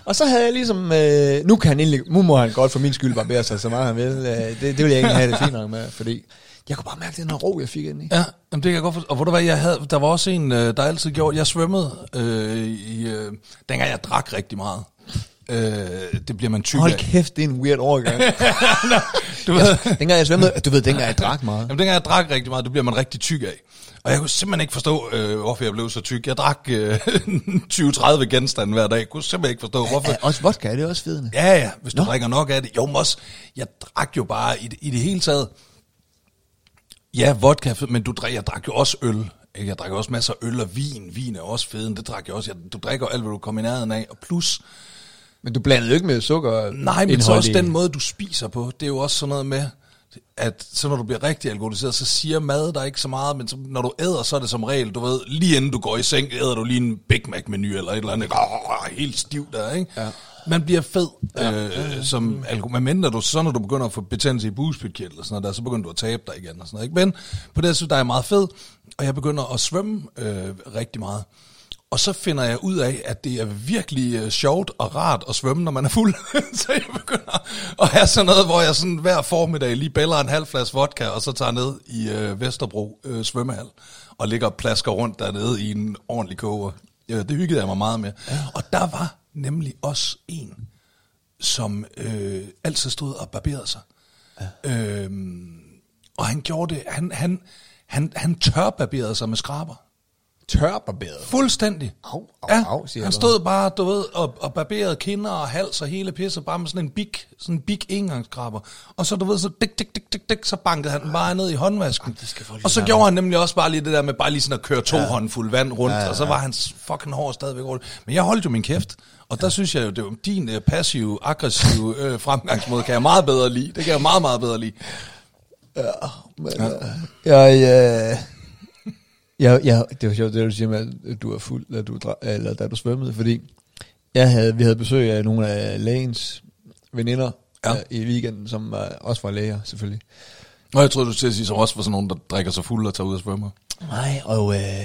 Og så havde jeg ligesom, øh, nu, kan han egentlig, nu må han godt for min skyld barbere sig så meget han vil. Øh, det, det ville jeg ikke have det fint nok med, fordi jeg kunne bare mærke den her ro, jeg fik ind i. Ja, jamen det kan jeg godt forstå. Og hvor du hvad, jeg havde, der var også en, øh, der altid gjorde, jeg svømmede, øh, i, øh, dengang jeg drak rigtig meget. Øh, det bliver man tyk Hold af. (laughs) kæft, det er en weird overgang. Du ved, (laughs) dengang jeg svømmede, du ved, dengang jeg drak meget. Jamen, dengang jeg drak rigtig meget, det bliver man rigtig tyk af. Og jeg kunne simpelthen ikke forstå, øh, hvorfor jeg blev så tyk. Jeg drak øh, (laughs) 20-30 genstande hver dag. Jeg kunne simpelthen ikke forstå, hvorfor. Ja, også vodka, er det også fedende? Ja, ja, hvis du Nå. drikker nok af det. Jo, men også, jeg drak jo bare i det, i det hele taget. Ja, vodka, men du drik, jeg drak jo også øl. Ikke? Jeg drak også masser af øl og vin. Vin er også feden, det drak jeg også. Jeg, du drikker alt, hvad du kommer i nærheden af. Og plus, Men du blandede jo ikke med sukker nej, men så også den måde, du spiser på. Det er jo også sådan noget med, at så når du bliver rigtig alkoholiseret, så siger mad dig ikke så meget, men så, når du æder, så er det som regel, du ved, lige inden du går i seng, æder du lige en Big Mac-menu eller et eller andet, ikke? Arr, helt stiv der, ikke? Ja. Man bliver fed, ja. øh, som alkohol. Men mindre du, så når du begynder at få betændelse i buspytkirtel og sådan noget der, så begynder du at tabe dig igen og sådan noget, ikke? Men på det, her, så der er jeg meget fed, og jeg begynder at svømme øh, rigtig meget. Og så finder jeg ud af, at det er virkelig øh, sjovt og rart at svømme, når man er fuld. (laughs) så jeg begynder at have sådan noget, hvor jeg sådan hver formiddag lige bæller en halv flaske vodka, og så tager ned i øh, Vesterbro øh, svømmehal, og ligger og plasker rundt dernede i en ordentlig koger. Ja, det hyggede jeg mig meget med. Og der var nemlig også en, som øh, altid stod og barberede sig. Ja. Øhm, og han gjorde det, han, han, han, han tørbarberede sig med skraber. Tørbarberet. Fuldstændig. Au, au, ja, au, siger han jeg stod bare, du ved, og, og barberede kinder og hals og hele pisset, bare med sådan en big, sådan en big engangskrabber. Og så, du ved, så dik, dik, dik, dik, dik, så bankede han den bare ned i håndvasken. skal folk lige Og så lære gjorde han nemlig også bare lige det der med bare lige sådan at køre to ja. håndfulde vand rundt, ja, ja, ja. og så var hans fucking hår stadigvæk rundt. Men jeg holdt jo min kæft, og der synes jeg jo, det var din øh, passive, aggressive øh, fremgangsmåde, kan jeg meget bedre lide. Det kan jeg meget, meget bedre lide. Men, ja. Jeg, øh, jeg, jeg, det var sjovt, det du siger med, at du er fuld, da du, dra- eller da du svømmede, fordi jeg havde, vi havde besøg af nogle af lægens veninder Ja. ja. i weekenden, som var, også var læger, selvfølgelig. Og jeg tror du til at sige, som også var sådan nogen, der drikker sig fuld og tager ud og svømmer. Nej, og, øh,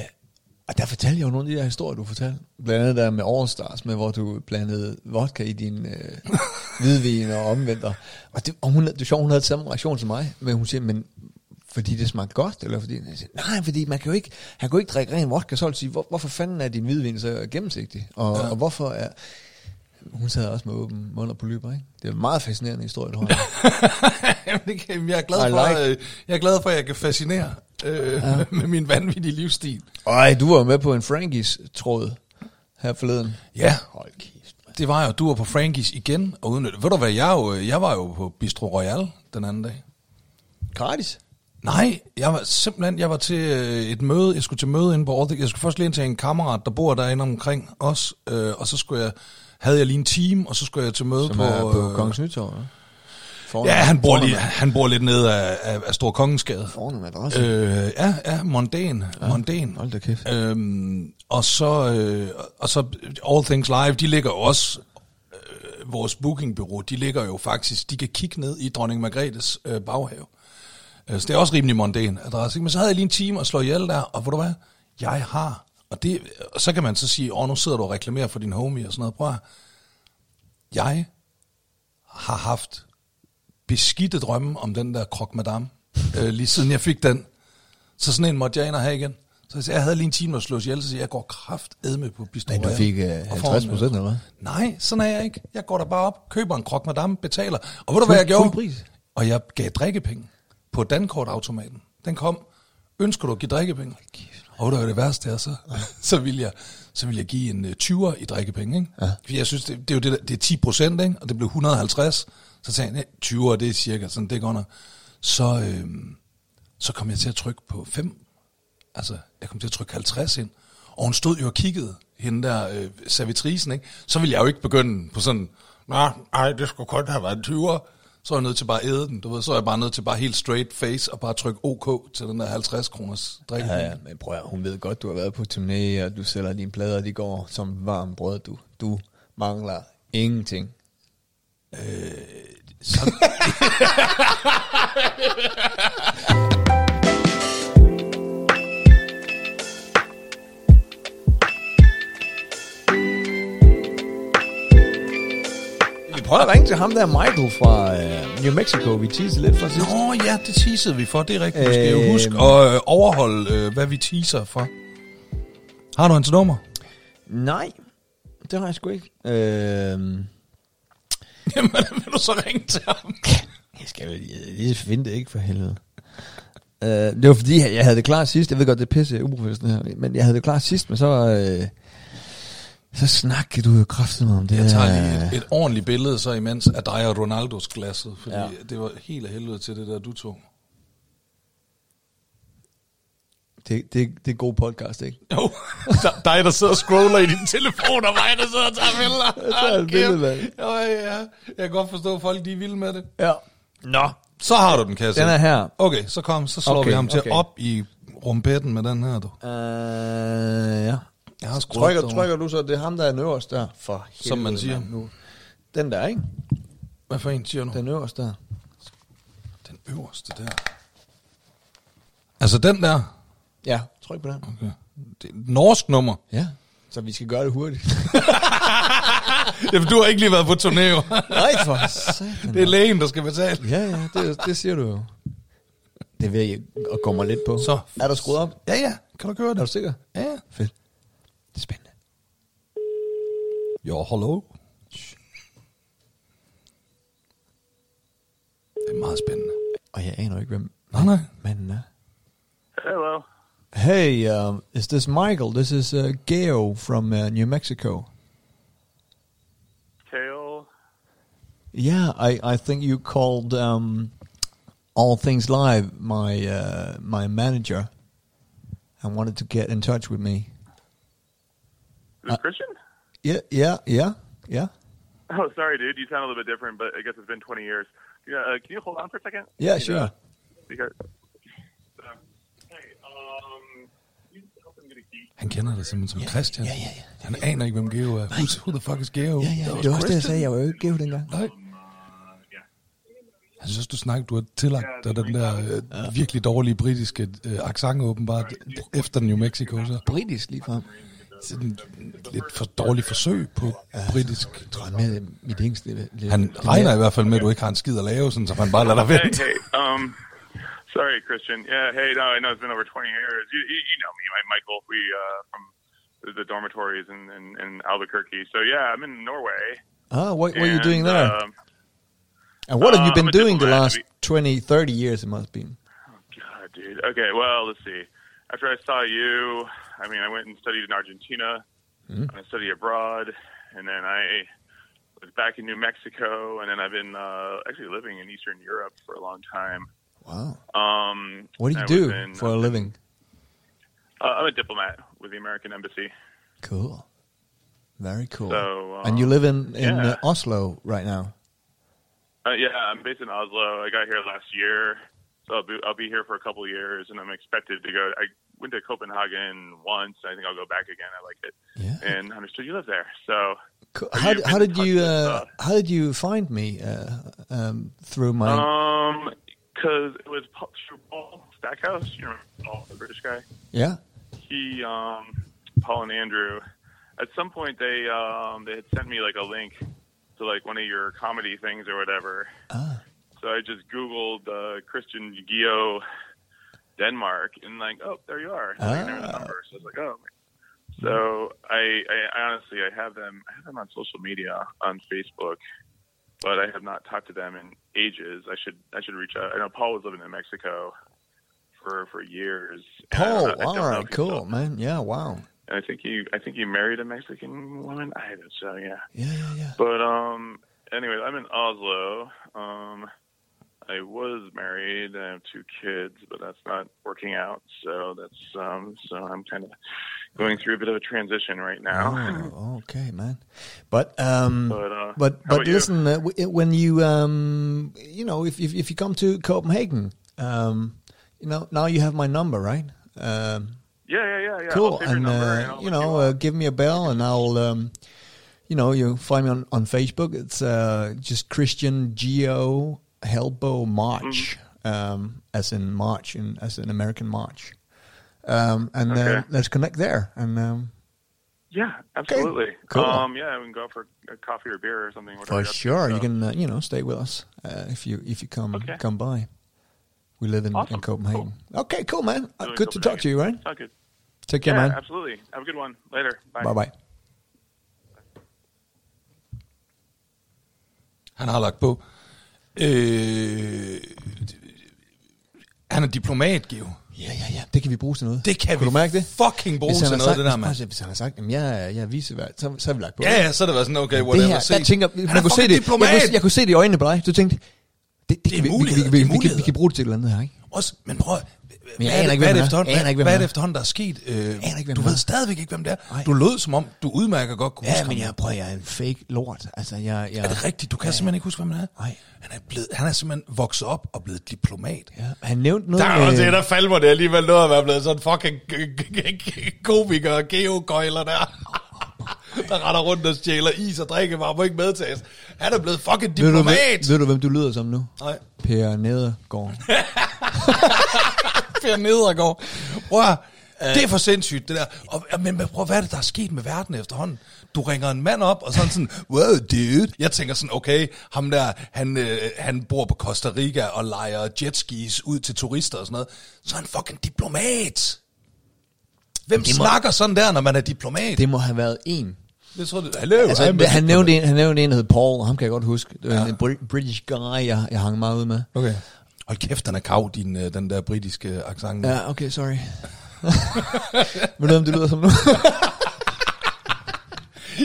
og der fortalte jeg jo nogle af de der historier, du fortalte. Blandt andet der med Overstars, med hvor du blandede vodka i din øh, (laughs) hvidvin og omvendt. Og- Og, det, og hun, det er sjovt, hun havde samme reaktion som mig, men hun siger, men fordi det smagte godt, eller fordi... Jeg siger, Nej, fordi man kan jo ikke, han kan jo ikke drikke ren vodka, så vil jeg sige, hvor, hvorfor fanden er din hvidvin så gennemsigtig? Og, ja. og hvorfor er... Hun sad også med åben mund og polyper, ikke? Det er en meget fascinerende historie, du har. (laughs) (laughs) Jamen, det kan, jeg, er glad I for, like. øh, jeg er glad for, at jeg kan fascinere øh, ja. med min vanvittige livsstil. Ej, du var jo med på en Frankies-tråd her forleden. Ja. Hold kæft, mand. Det var jo, du var på Frankies igen og udnyttede. Ved du hvad, jeg, er jo, øh, jeg var jo på Bistro Royal den anden dag. Gratis? Nej, jeg var simpelthen, jeg var til øh, et møde, jeg skulle til møde inde på Orthik. Jeg skulle først lige ind til en kammerat, der bor derinde omkring os, øh, og så skulle jeg, havde jeg lige en time, og så skulle jeg til møde Som på... på, er på øh, Kongens Nytorv, ja? Foran, Ja, han bor, lige, foran- han bor lidt nede af, af, af Stor Kongensgade. Foran en adresse. Øh. Øh, ja, ja, mondæn, ja. mondæn. Hold da kæft. Øhm, og så øh, og så All Things Live, de ligger jo også øh, vores bookingbyrå, de ligger jo faktisk, de kan kigge ned i dronning Margrethes øh, baghave. Øh, Så det er også rimelig mondæn adresse. ikke? Men så havde jeg lige en time at slå ihjel der, og ved du hvad, jeg har, og, det, og så kan man så sige, åh, nu sidder du og reklamerer for din homie og sådan noget. Prøv at, høre. jeg har haft beskidte drømme om den der krok (laughs) madame, øh, lige siden jeg fik den. Så sådan en måtte jeg ind og have igen. Så jeg, sagde, jeg havde lige en time at slås ihjel, så siger jeg, jeg går kraft edme på Bistro Men du Royal. fik, øh, Og får en, 50% eller hvad? Nej, sådan er jeg ikke. Jeg går der bare op, køber en krok madame, betaler. Og ved du, hvad jeg gjorde? Fuld pris? Og jeg gav drikkepenge på dankortautomaten. Den kom. Ønsker du at give drikkepenge? Og ved du, hvad det værste er så? (laughs) så, vil jeg, så vil jeg give en øh, 20'er i drikkepenge. Ikke? Ja. Fordi jeg synes, det, det, er jo det, der- det er 10 procent, ikke? og det blev 150. Så sagde jeg, 20'er, det er cirka sådan, det går nok. Så, øh, så kom jeg til at trykke på 5. Altså, jeg kom til at trykke 50 ind. Og hun stod jo og kiggede, hende der øh, servitrisen, ikke? Så ville jeg jo ikke begynde på sådan, nej, nej, det skulle kun have været en 20'er. Så er jeg nødt til bare at æde den, du ved. Så er jeg bare nødt til bare helt straight face og bare trykke OK til den der 50 kroners drikke. Ja, ja, men prøv at, høre, hun ved godt, du har været på turné, og du sælger dine plader, de går som varm brød, du. Du mangler ingenting. Øh, Vi prøver at ringe til ham der, Michael fra øh, New Mexico. Vi teasede lidt for sidst. Nå ja, det teasede vi for, det er rigtigt. Du skal jo Øhm. huske at øh, overholde, øh, hvad vi teaser for. Har du hans nummer? (laughs) Nej, det har jeg sgu ikke. Øh, Jamen, vil du så ringe til ham? Jeg skal jo lige- lige finde det, ikke for helvede. Uh, det var fordi, jeg jeg havde det klar sidst. Jeg ved godt, det er pisse uprofessionelt her, men jeg havde det klar sidst, men så... Uh, så snakkede du jo kraftigt om det Jeg tager der- lige et, et ordentligt billede så imens af dig og Ronaldos glasset, fordi Ja. ja. det var helt af helvede til det der, du tog. Det, det, det er god podcast, ikke? Jo, der- dig der sidder og scroller i din telefon, og mig der sidder og tager billeder. Jeg tager et Hold billede, kæft. mand. Jo, ja, jeg kan godt forstå, at folk de er vilde med det. Ja. Nå, så har du den, kan jeg se. Den er her. Okay, så kom, så slår Okay, vi ham til okay. op i rumpetten med den her, du. Uh, ja. Jeg har scrollet Trykker, derovre. trykker du så, det er ham, der er den øverste der? For helvede, Som man siger. mand, nu. Den der, ikke? Hvad for en siger du? Den, Den øverste der. den øverste der. Altså den der. Ja, tryk på den. Okay. Det er et norsk nummer. Ja. Så vi skal gøre det hurtigt. (laughs) Jamen, du har ikke lige været på turné, jo. Nej, for satan. Det er lægen, der skal betale. Ja, ja, det, det siger du jo. Det vil jeg og går mig lidt på. Så. Er der skruet op? Ja, ja. Kan du køre Er du det? sikker? Ja, ja. Fedt. Det er spændende. Jo, hallo. Det er meget spændende. Og jeg aner ikke, hvem Nej, nej. manden er. Hello. Hey, um, is this Michael? This is uh, Geo from uh, New Mexico. Kale. Yeah, I, I think you called um, All Things Live my uh, my manager and wanted to get in touch with me. Is it Uh, Christian? Yeah, yeah, yeah, yeah, Oh, sorry, dude. You sound a little bit different, but I guess it's been 20 years. Yeah, uh, can you hold on for a second? yeah. Sure. Because, uh, hey, um, you just help him get a key. Han kender dig simpelthen som Christian. ja, ja, ja. Han aner ikke, hvem Geo er. Who's, who the fuck is Geo? Ja, ja, That was det var også det, Christian. jeg sagde. Jeg var jo ikke givet dengang. Nej. Jeg synes, du snakker, du har tillagt dig den der øh, virkelig dårlige britiske øh, accent åbenbart, efter New Mexico, så Britisk lige frem. sådan lidt for dårligt forsøg på britisk. Jeg tror, han er med mit engelsk lidt. lidt- Han lidt regner mere. i hvert fald med, at du ikke har en skid at lave, sådan, så han bare lader dig Hey, vente. hey, um, sorry, Christian. Yeah, hey, no, I know it's been over 20 years. You, you, you know me, my Michael. We, uh, from the dormitories in, in, in Albuquerque. So, yeah, I'm in Norway. Ah, what were you and, doing there? um, and what have you uh, been I'm a doing the diplomat. last 20, 30 years? It must be. God, dude. Okay, well, let's see. After I saw you, I mean, I went and studied in Argentina. Hmm. I studied abroad, and then I was back in New Mexico, and then I've been uh, actually living in Eastern Europe for a long time. Wow. Um, What do I you do was in- for a living? Uh, I'm a diplomat with the American Embassy. Cool. Very cool. So, uh, and you live in in yeah. uh, Oslo right now. Uh, yeah, I'm based in Oslo. I got here last year, so I'll be I'll be here for a couple of years, and I'm expected to go. I went to Copenhagen once. I think I'll go back again. I (laughs) like it, Yeah. and understood you live there. So Cool. Have How, you d- been how in did touch you with, uh, uh, how did you find me uh, um, through my? Um, because it was Paul- through Paul Stackhouse, you remember Paul, the British guy. yeah. He, um, Paul and Andrew, at some point they um, they had sent me like a link to like one of your comedy things or whatever. Ah. So I just Googled uh, Christian Gio Denmark and like, oh, there you are. And, like, there was a Ah. number. So I was like, oh. So I, I, I honestly I have them I have them on social media on Facebook, but I have not talked to them in ages. I should I should reach out. I know Paul was living in Mexico for for years. and I don't Paul. know- I don't all know if right. he's still- Cool, man. Yeah. Wow. And I think he I think he married a Mexican woman. I don't know. Yeah. Yeah. Yeah. Yeah. But um, anyway, I'm in Oslo. Um, I was married. I have two kids, but that's not working out. So that's um, so I'm kind of going through a bit of a transition right now. Oh, okay, man. But um, (laughs) But, uh, but how but about you? listen, uh, w- it- when you um, you know, if if, if you come to Copenhagen, um, you know, now you have my number, right? Um, yeah, yeah, yeah, yeah. I'll cool, save your and, number uh, I'll you look know, up. uh, give me a bell, and I'll um, you know, you find me on on Facebook. It's uh, just Christian Geo Helbo March, Mm-hmm. um, as in March, in as in American March. Um, and uh, Okay. let's connect there, and um, yeah, absolutely. cool. Um, yeah, we can go out for a coffee or beer or something. whatever For you're up to, sure, you so. can uh, you know stay with us uh, if you if you come Okay. come by. We live in, in Awesome. Copenhagen. Okay, cool, man. Uh, Do it in good to talk to Copenhagen. you, right? Sound good. Take Yeah, care, man. absolutely. Have a good one. Later. Bye. Bye bye. Han har lagt på. Øh, han er diplomat, Geo. Ja, ja, ja, det kan vi bruge til noget. Det kan Kunne vi du mærke det? fucking bruge Hvis han til har noget, sagt, det der, hvis- mand. prøv at se, Hvis han har sagt, at jeg, er- jeg er visevært, så, så har vi lagt på. Ja, ja, så er det været sådan, okay, whatever. det her, der Se. tænker, Han er man kunne se fucking det, Diplomat. jeg, kunne, jeg kunne se det i øjnene på dig. Du tænkte, det, det, er kan vi, vi, vi, muligheder, vi, det er vi, vi, vi, muligheder. kan bruge det til et eller andet her, ikke? Også, men prøv, at- Men jeg hvad, er aner det, ikke, hvad, er hvem han det er. efterhånden, Jeg aner hvad, ikke, hvem hvad er han det er. efterhånden, der er sket? Øh, aner ikke, hvem du han ved er. stadigvæk ikke, hvem det er. Nej. Du lød som om, du udmærket godt kunne Ja, huske men ham. jeg prøver, jeg er en fake lort. Altså, jeg, jeg, Er (laughs) det rigtigt? Du kan simpelthen ikke huske, hvem han er. Nej. Han er, blevet, han er simpelthen vokset op og blevet diplomat. Ja, han nævnte noget Der er med- også det, der faldt mig det alligevel noget at være blevet sådan fucking komiker og geogøjler der. (laughs) Der retter rundt og stjæler is og drikkevarer, må ikke medtages. Han er blevet fucking ved du, hvem, diplomat. ved du, hvem du lyder som nu? Nej, Per Nedergaard. Per Nedergaard. Prøv at, Øh. høre, det er for sindssygt, det der. Og, og- men prøv at, hvad er det, der er sket med verden efterhånden? Du ringer en mand op, og sådan sådan, wow, dude. Jeg tænker sådan, okay, ham der, han, øh, han bor på Costa Rica og leger jetskis ud til turister og sådan noget. Så er han fucking diplomat. Hvem Det må- snakker sådan der, når man er diplomat? Det, Det må have været en. det tror du, hello, Altså, I'm a han, diplomat. nævnte en, han nævnte en, der hed Paul, og ham kan jeg godt huske. Det var ja. en br- British guy, jeg, jeg hang meget ud med. Okay. Hold kæft, den er kav, din, øh, den der britiske accent. Ja. Ja, okay, sorry. (laughs) Ved du, hvem du lyder som nu? (laughs)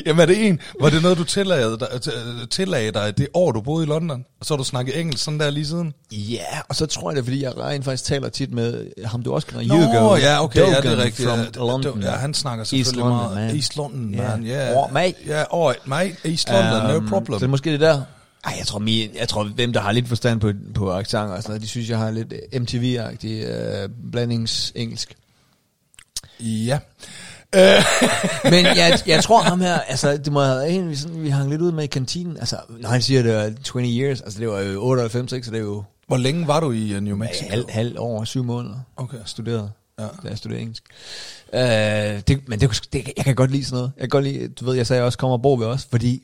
Jamen er det en, var det noget, du tillagde dig, t- tillagde dig det år, du boede i London? Og så har du snakket engelsk sådan der lige siden? Ja, og så tror jeg det, er, fordi jeg rent faktisk taler tit med ham, du også kender, Nå, Jürgen ja, okay, ja, det er Dogan rigtigt. From ja, det- London. det- Ja, han snakker selvfølgelig East London, meget. man. East London, Ja. man. Yeah. Or, mate. Ja, or, mate. East London, no problem. Øhm, Så måske det der. Ej, jeg tror, min, jeg tror, hvem der har lidt forstand på, på accent og sådan noget, de synes, jeg har lidt MTV-agtig øh, blandingsengelsk. Ja. Øh, Men jeg, jeg tror ham her, altså det må have været en, vi, sådan, vi hang lidt ud med i kantinen. Altså, når han siger, det var 20 years, altså det var jo 98, ikke? Så det er jo (laughs) Hvor længe var du i øh, New Mexico? Altså, halv, halv over syv måneder. Okay. Studeret. Ja. Ja. Da jeg studerede engelsk. Øh, det, men det, kunne sgu- det, jeg kan godt lide sådan noget. Jeg kan godt lide, du ved, jeg sagde, jeg også kommer og bor ved os, fordi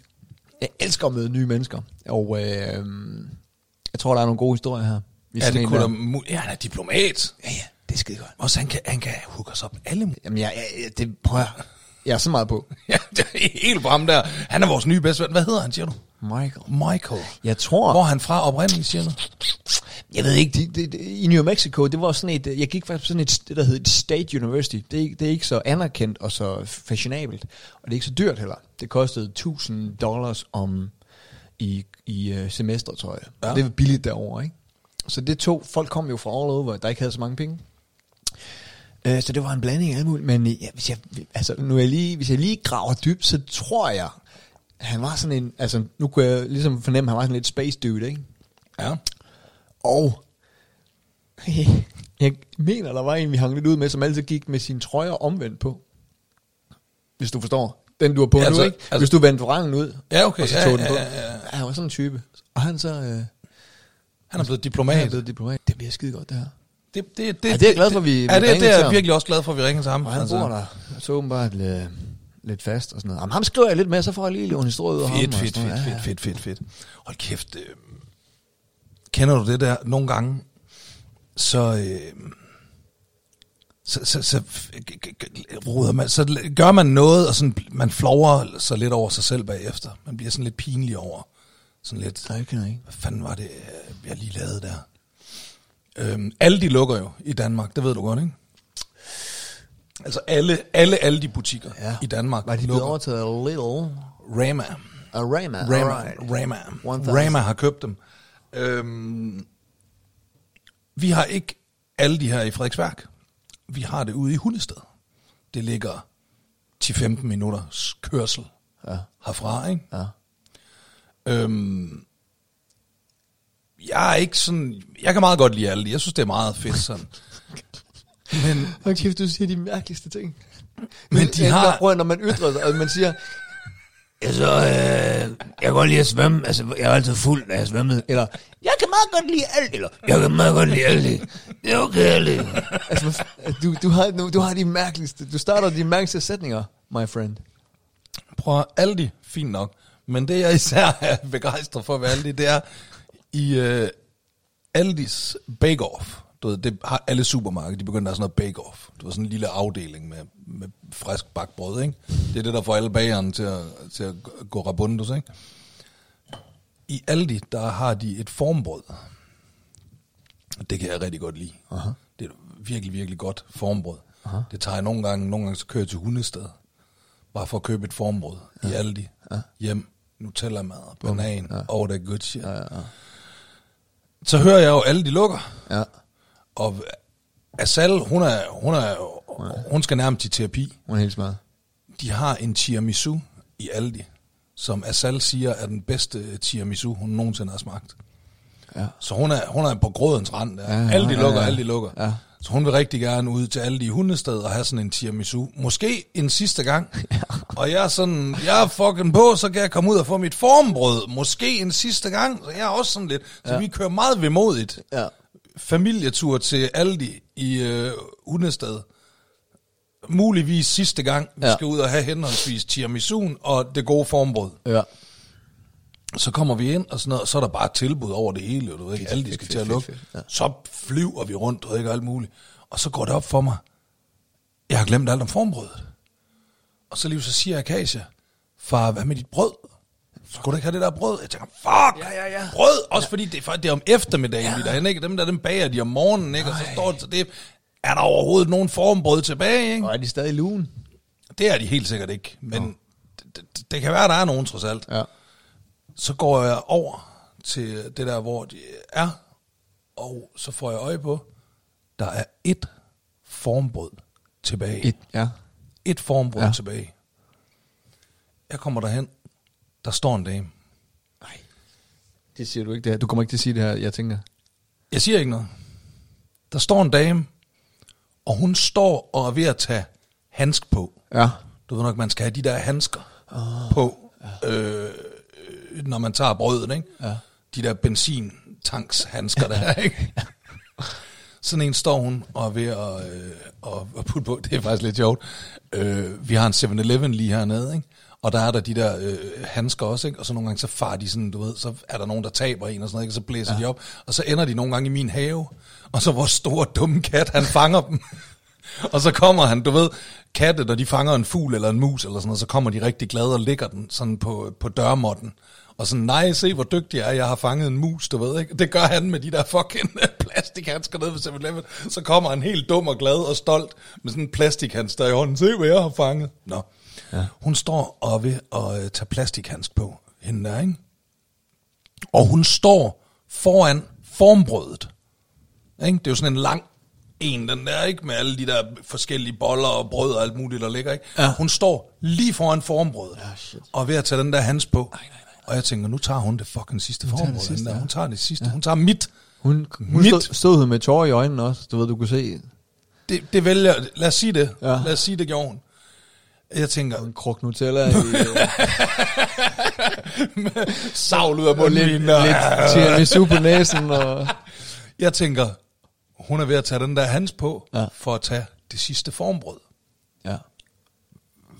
jeg elsker at møde nye mennesker. Og øh, jeg tror, der er nogle gode historier her. i Ja, sådan det en kunne der. da... mu- Ja, han er diplomat. Ja, ja, det er skide godt. Også han kan, han kan hooke os op med alle... mu- (laughs) Jamen, jeg, jeg, jeg det prøver jeg. Jeg er så meget på. Ja, det er helt på ham der. Han er vores nye bedste ven. Hvad hedder han, siger du? Michael. Michael. Jeg tror... Hvor er han fra oprindeligt, siger du? Jeg ved ikke, det, det, det, i New Mexico, det var sådan et, øh, jeg gik faktisk på sådan et, det der hed et State University. Det er, ikke- det er ikke så anerkendt og så fashionabelt, og det er ikke så dyrt heller. Det kostede 1000 dollars om i, i øh, semestertøj. Ja. Ja. Det var billigt derovre, ikke? Så det tog, folk kom jo fra all over, der ikke havde så mange penge. Øh, så det var en blanding af alt muligt, men øh, ja, hvis jeg, altså, nu er jeg lige, hvis jeg lige graver dybt, så tror jeg, han var sådan en, altså nu kunne jeg ligesom fornemme, at han var sådan lidt space dude, ikke? Ja. Og (laughs) jeg mener, der var en, vi hang lidt ud med, som altid gik med sine trøjer omvendt på. Hvis du forstår. Den, du har på Ja, ja, altså- nu, ikke? altså- Hvis du vendte vrangen ud, Ja, okay, og så ja, tog den ja, på. ja, ja. Han var sådan en type. Og han så... Øh, Han er blevet han er diplomat. blevet diplomat. Det bliver skide godt, det her. Det, det, det, Ja, det er jeg glad for, vi- vi ja, det, ringede det til er jeg ham. virkelig også glad for, at vi ringede til ham. Og han altså. bor der. Så åbenbart lidt, lidt fast og sådan noget. Jamen, ham skriver jeg lidt med, så får jeg lige en historie ud af ham. Fedt, og fedt, sådan noget. fedt, Ja, ja. fedt, fedt, fedt, fedt. Hold kæft. Øh, kender du det der nogle gange? Så, øh, så, så, så, f- g- g- g- roder man, så l- gør man noget, og sådan, man flover sig lidt over sig selv bagefter. Man bliver sådan lidt pinlig over. Sådan lidt, Nej, det kender jeg ikke. hvad fanden var det, øh, jeg lige lavede der? Øhm, alle de lukker jo i Danmark, det ved du godt, ikke? Altså alle, alle, alle de butikker ja. i Danmark Var de blevet lukker. overtaget af Little? Rema. Af Rema. Rama, alright. Rama. 1000. Rama har købt dem. Øhm, vi har ikke alle de her i Frederiksværk. Vi har det ude i Hundested. Det ligger 10-15 minutters kørsel Ja. herfra, ikke? Ja. Øhm, jeg er ikke sådan... Jeg kan meget godt lide alle de. Jeg synes, det er meget fedt sådan. Men Hold kæft, du siger de mærkeligste ting. Men de jeg- har- når- Prøv, at- når man ytrer sig, og man siger... Så, øh, jeg kan godt lide at svømme. Altså, jeg er altid fuld, når jeg svømmede. Eller, jeg kan meget godt lide alt. Eller, jeg kan meget godt lide alt. Det er okay, alt. altså, hvad f- du, du, har, nu- du har de mærkeligste... Du starter de mærkeligste sætninger, my friend. prøv at Aldi, fint nok. Men det, jeg især er (laughs) begejstret for ved Aldi, det er i øh, Aldis Bake Off. Du ved, det har alle supermarkeder, de begynder at have sådan noget Bake Off. Det var sådan en lille afdeling med, med frisk bagt brød, ikke? Det er det, der får alle bagerne til at, til at gå rabundus, ikke? I Aldi, der har de et formbrød. Og Det kan jeg rigtig godt lide. Aha. Det er et virkelig, virkelig godt formbrød. Aha. Det tager jeg nogle gange, nogle gange så kører jeg til hundested. Bare for at købe et formbrød ja. i Aldi. Ja. Hjem. Nutella-mad, banan, ja. all that good shit. Ja, ja, ja. Så hører jeg jo, alle de lukker. Ja. Og Asal, hun, er, hun, er, hun skal nærmest i terapi. Hun er helt smart. De har en tiramisu i Aldi, som Asal siger er den bedste tiramisu, hun nogensinde har smagt. Ja. Så hun er, hun er på grådens rand der. Ja, ja, Ja, Aldi ja, lukker, ja. ja, Aldi lukker. Ja. Så hun vil rigtig gerne ud til Aldi i Hundested og have sådan en tiramisu. Måske en sidste (laughs) gang. Ja. Og jeg er sådan, jeg er fucking på, så kan jeg komme ud og få mit formbrød. Måske en sidste gang. Så jeg er også sådan lidt. Så ja. vi kører meget vemodigt Ja. familietur til Aldi i øh, Hundested. Muligvis sidste gang, vi Ja. ja. skal ud og have henholdsvis tiramisuen og det gode formbrød. Ja. Så kommer vi ind, og, sådan noget, og så er der bare tilbud over det hele, du ved ikke, Aldi skal fedt, til at fedt, lukke. fedt, ja. Så flyver vi rundt, du ved ikke, og alt muligt. Og så går det op for mig, jeg har glemt alt om formbrødet. Og så lige så siger Akasia, far, hvad med dit brød? Skulle du ikke have det der brød? Jeg tænker, fuck, Ja, ja, ja. brød, også fordi det, er for, det er om eftermiddagen, ja. vi er derhenne, ikke? Dem der, dem bager de om morgenen, ikke? Og så står det til det, er der overhovedet nogen formbrød tilbage, ikke? Og er de stadig i lugen? Det er de helt sikkert ikke, men det, det, det kan være, der er nogen trods alt. Ja. Så går jeg over til det der, hvor de er, og så får jeg øje på, der er et formbrød tilbage. Et, ja. et formbrød Ja. ja. tilbage. Jeg kommer derhen, der står en dame. Nej. Det siger du ikke det her. Du kommer ikke til at sige det her, jeg tænker. Jeg siger ikke noget. Der står en dame, og hun står og er ved at tage handsk på. Ja. Du ved nok, man skal have de der handsker oh, på, ja. øh, øh, når man tager brødet, ikke? Ja. De der benzintankshandsker (laughs) der, ikke? Sådan en står hun og er ved at, øh, at, at putte på. Det er faktisk lidt sjovt. Øh, vi har en 7-Eleven lige hernede, ikke? Og der er der de der øh, handsker også, ikke? Og så nogle gange, så far de sådan, du ved, så er der nogen, der taber en og sådan noget, ikke? Og så blæser ja. de op. Og så ender de nogle gange i min have. Og så vores store, dumme kat, han fanger dem. (laughs) Og så kommer han, du ved, katte, når de fanger en fugl eller en mus eller sådan noget, så kommer de rigtig glade og ligger den sådan på, på dørmåtten. Og sådan, nej, se hvor dygtig jeg er, jeg har fanget en mus, du ved ikke. Det gør han med de der fucking (laughs) plastikhandsker nede ved 7 Så kommer han helt dum og glad og stolt med sådan en plastikhandsker i hånden. Se, hvad jeg har fanget. Nå. Ja. Hun står og er ved at øh, tage plastikhandsk på, hende der, ikke? Og hun står foran formbrødet. Ikke? Det er jo sådan en lang en, den der, ikke? Med alle de der forskellige boller og brød og alt muligt, der ligger, ikke? Ja. Hun står lige foran formbrødet. Ja, shit. og er ved at tage den der hans på. Nej, nej, nej. Og jeg tænker, nu tager hun det fucking sidste tager det formbrød. Hun, sidste, ja. ja. hun tager det sidste. Ja. Hun tager mit. Hun, hun Mit. stod, stod hun med tårer i øjnene også. Du ved, du kunne se Det, det vælger... Lad os sige det. Ja. Ja. Lad os sige det, gjorde hun. Jeg tænker, en krok Nutella (laughs) i øh, savl ud af og munden. lidt, lige nu. lidt tiramisu på næsen. Og, Jeg tænker, hun er ved at tage den der hans på, Ja. ja. for at tage det sidste formbrød. ja.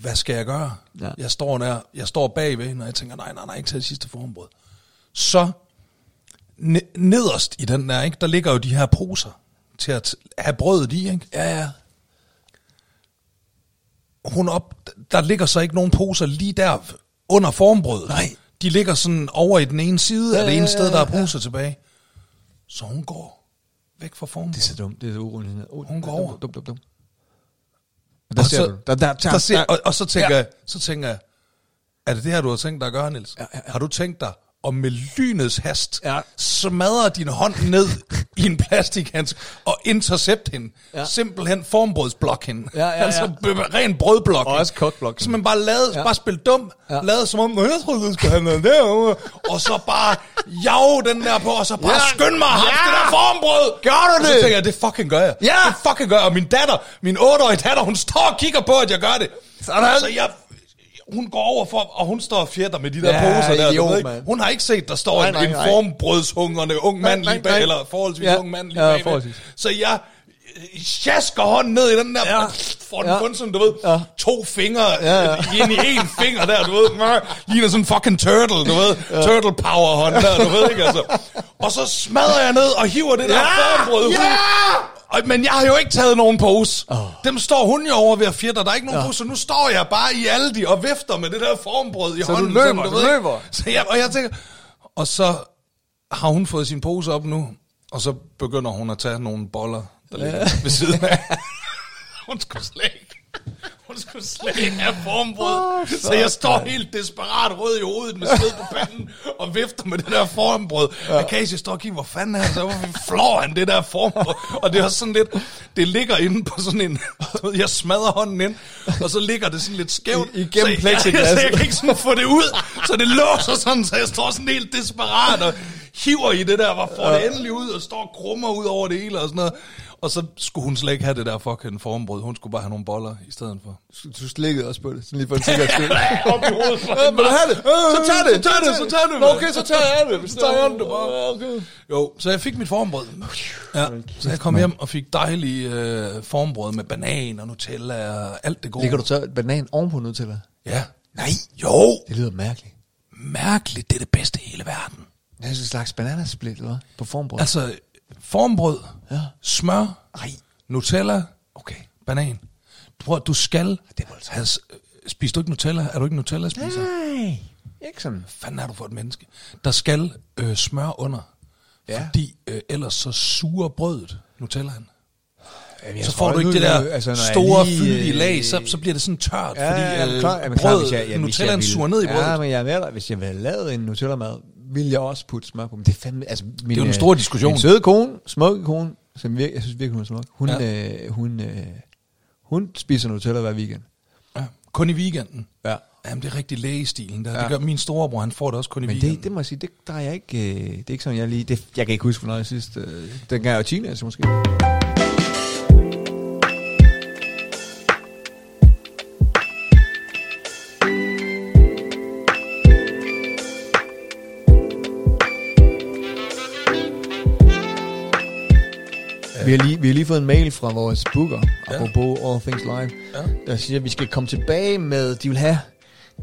hvad skal jeg gøre? Ja. Ja. Jeg står der, jeg står bagved hende, og jeg tænker, nej, nej, nej, ikke til det sidste formbrød. Så ne- nederst i den der, ikke, der ligger jo de her poser til at have brødet i, ikke? Ja, ja. Hun op, der ligger så ikke nogen poser lige der under formbrødet. Nej. De ligger sådan over i den ene side ja, af det ene ja, sted, ja, der er poser ja. tilbage. Så hun går væk fra formbrødet. Det er så dumt. Det er så uroligt. Oh, Hun går over. Dum, dum, dum. Der Og ser så- du. Der, der, der, der ser, og, og så tænker Ja. ja. jeg, så tænker jeg, er det det her, du har tænkt dig at gøre, Niels? Ja, ja, ja. Har du tænkt dig, og med lynets hast, Ja. smadre din hånd ned i en plastikhandsk og intercept hende. Ja. Ja. Simpelthen formbrødsblok hende. Ja, ja, (laughs) ja. Altså b- ren brødblok. Og også kokblok hende. Så man bare lavede, Ja. ja. bare spille dum, Ja. ja. lavede som om, "Nå, jeg troede, du skulle have noget derovre. og så bare jav den der på, og så bare Ja. ja. skynd mig at ja. Ja. det der formbrød. Gør du og så det? tænker jeg, det fucking gør jeg. Ja. Det fucking gør jeg. Og min datter, min 8-årige datter, hun står og kigger på, at jeg gør det. Sådan. Så jeg, hun går over for, og hun står og fjerter med de der Ja, poser der. idiot, du ved mand. ikke? Hun har ikke set, der står Nej, nej, nej, nej, en, en nej. formbrødshungrende ung Nej, mand nej, lige bag, nej. eller forholdsvis Ja. ung mand lige Ja, bagved. forholdsvis. Så jeg øh, sjasker hånden ned i den der, Ja. ja. får den Ja. ja. kun sådan, du ved, Ja. ja. to fingre Ja, ja, ja. ja. ind i en finger der, du ved, Mør, ligner sådan en fucking turtle, du ved, ja. turtle power hånd der, du ved, ikke altså. Og så smadrer jeg ned og hiver det der Ja! formbrød ud. Ja! Og- Men jeg har jo ikke taget nogen pose. Oh. Dem står hun jo over ved at fjerde. Der er ikke nogen Ja. ja. pose, så nu står jeg bare i Aldi og vifter med det der formbrød i du hånden. løber, sådan, du ved ikke? løber. Så jeg, og jeg tænker, Og så har hun fået sin pose op nu, og så begynder hun at tage nogle boller, der ligger ved siden af. (laughs) hun skulle slet ikke. Hun skulle slet ikke have formbrød. Oh, så jeg står helt desperat rød i hovedet med sved på panden og vifter med det der formbrød. Ja. Akashi står og kigger, hvor fanden er han så? Hvorfor flår han det der formbrød? Og det er også sådan lidt, det ligger inde på sådan en, (laughs) du ved, jeg smadrer hånden ind, og så ligger det sådan lidt skævt. I- igennem så, jeg, (laughs) jeg, plexiglas. så jeg kan ikke sådan få det ud, så det låser sådan, så jeg står sådan helt desperat og hiver i det der, hvor får det endelig ud, og står og krummer ud over det hele og sådan noget. Og så skulle hun slet ikke have det der fucking formbrød. Hun skulle bare have nogle boller i stedet for. Du slikkede også på det, sådan lige for en sikkerheds (laughs) skyld. Op i hovedet. Ja, Øh, vil du have det? Så tag det, Øh, Så tag det, så tag det. Nå, okay, så tager jeg det. Så tager jeg det bare. Okay. Jo, så jeg fik mit formbrød. Ja, så jeg kom hjem og fik dejlig øh, formbrød med banan og Nutella og alt det gode. Ligger du så et banan ovenpå nu til dig? Ja. Nej. Jo. Det lyder mærkeligt. Mærkeligt, det er det bedste i hele verden. Det er sådan en slags bananasplit, eller hvad? På formbrød. Altså, formbrød, Ja. smør, Ej. Nutella, Okay. banan. Du, prøv, du skal... Det er voldsomt. have, s- spiser du ikke Nutella? Er du ikke Nutella-spiser? Ja. Nej. Ikke sådan. Fanden er du for et menneske? Der skal øh, smør under, Ja. ja. fordi øh, ellers så suger brødet Nutellaen. Jamen, så får du ikke det der altså, store, lige, øh, fyldige lag, så, så bliver det sådan tørt, øh, Ja, fordi ja, øh, men klar, jamen, klar, brød, hvis jeg, jamen, hvis jeg Nutellaen ville- suger ned i brødet. Ja, men jeg er med dig. Hvis jeg havde lavet en Nutella-mad, ville jeg også putte smør på. Men det er fandme... Altså, min, det jo den store diskussion. Min søde kone, smukke kone, som virke, jeg synes virkelig, hun er smuk. Hun, Ja. ja. øh, hun, øh, hun spiser Nutella hver weekend. Ja, kun i weekenden. Ja. Jamen, det er rigtig lægestilen der. Ja. Ja. Det gør min storebror, han får det også kun i Men weekenden. det, det må jeg sige, det, der er jeg ikke, øh, det er ikke sådan, jeg lige, det, jeg kan ikke huske, hvornår jeg sidst, øh, den gang jeg var teenager måske. Vi har, lige, vi har lige fået en mail fra vores booker, ja. apropos All Things Live, ja. der siger, at vi skal komme tilbage med, de vil have,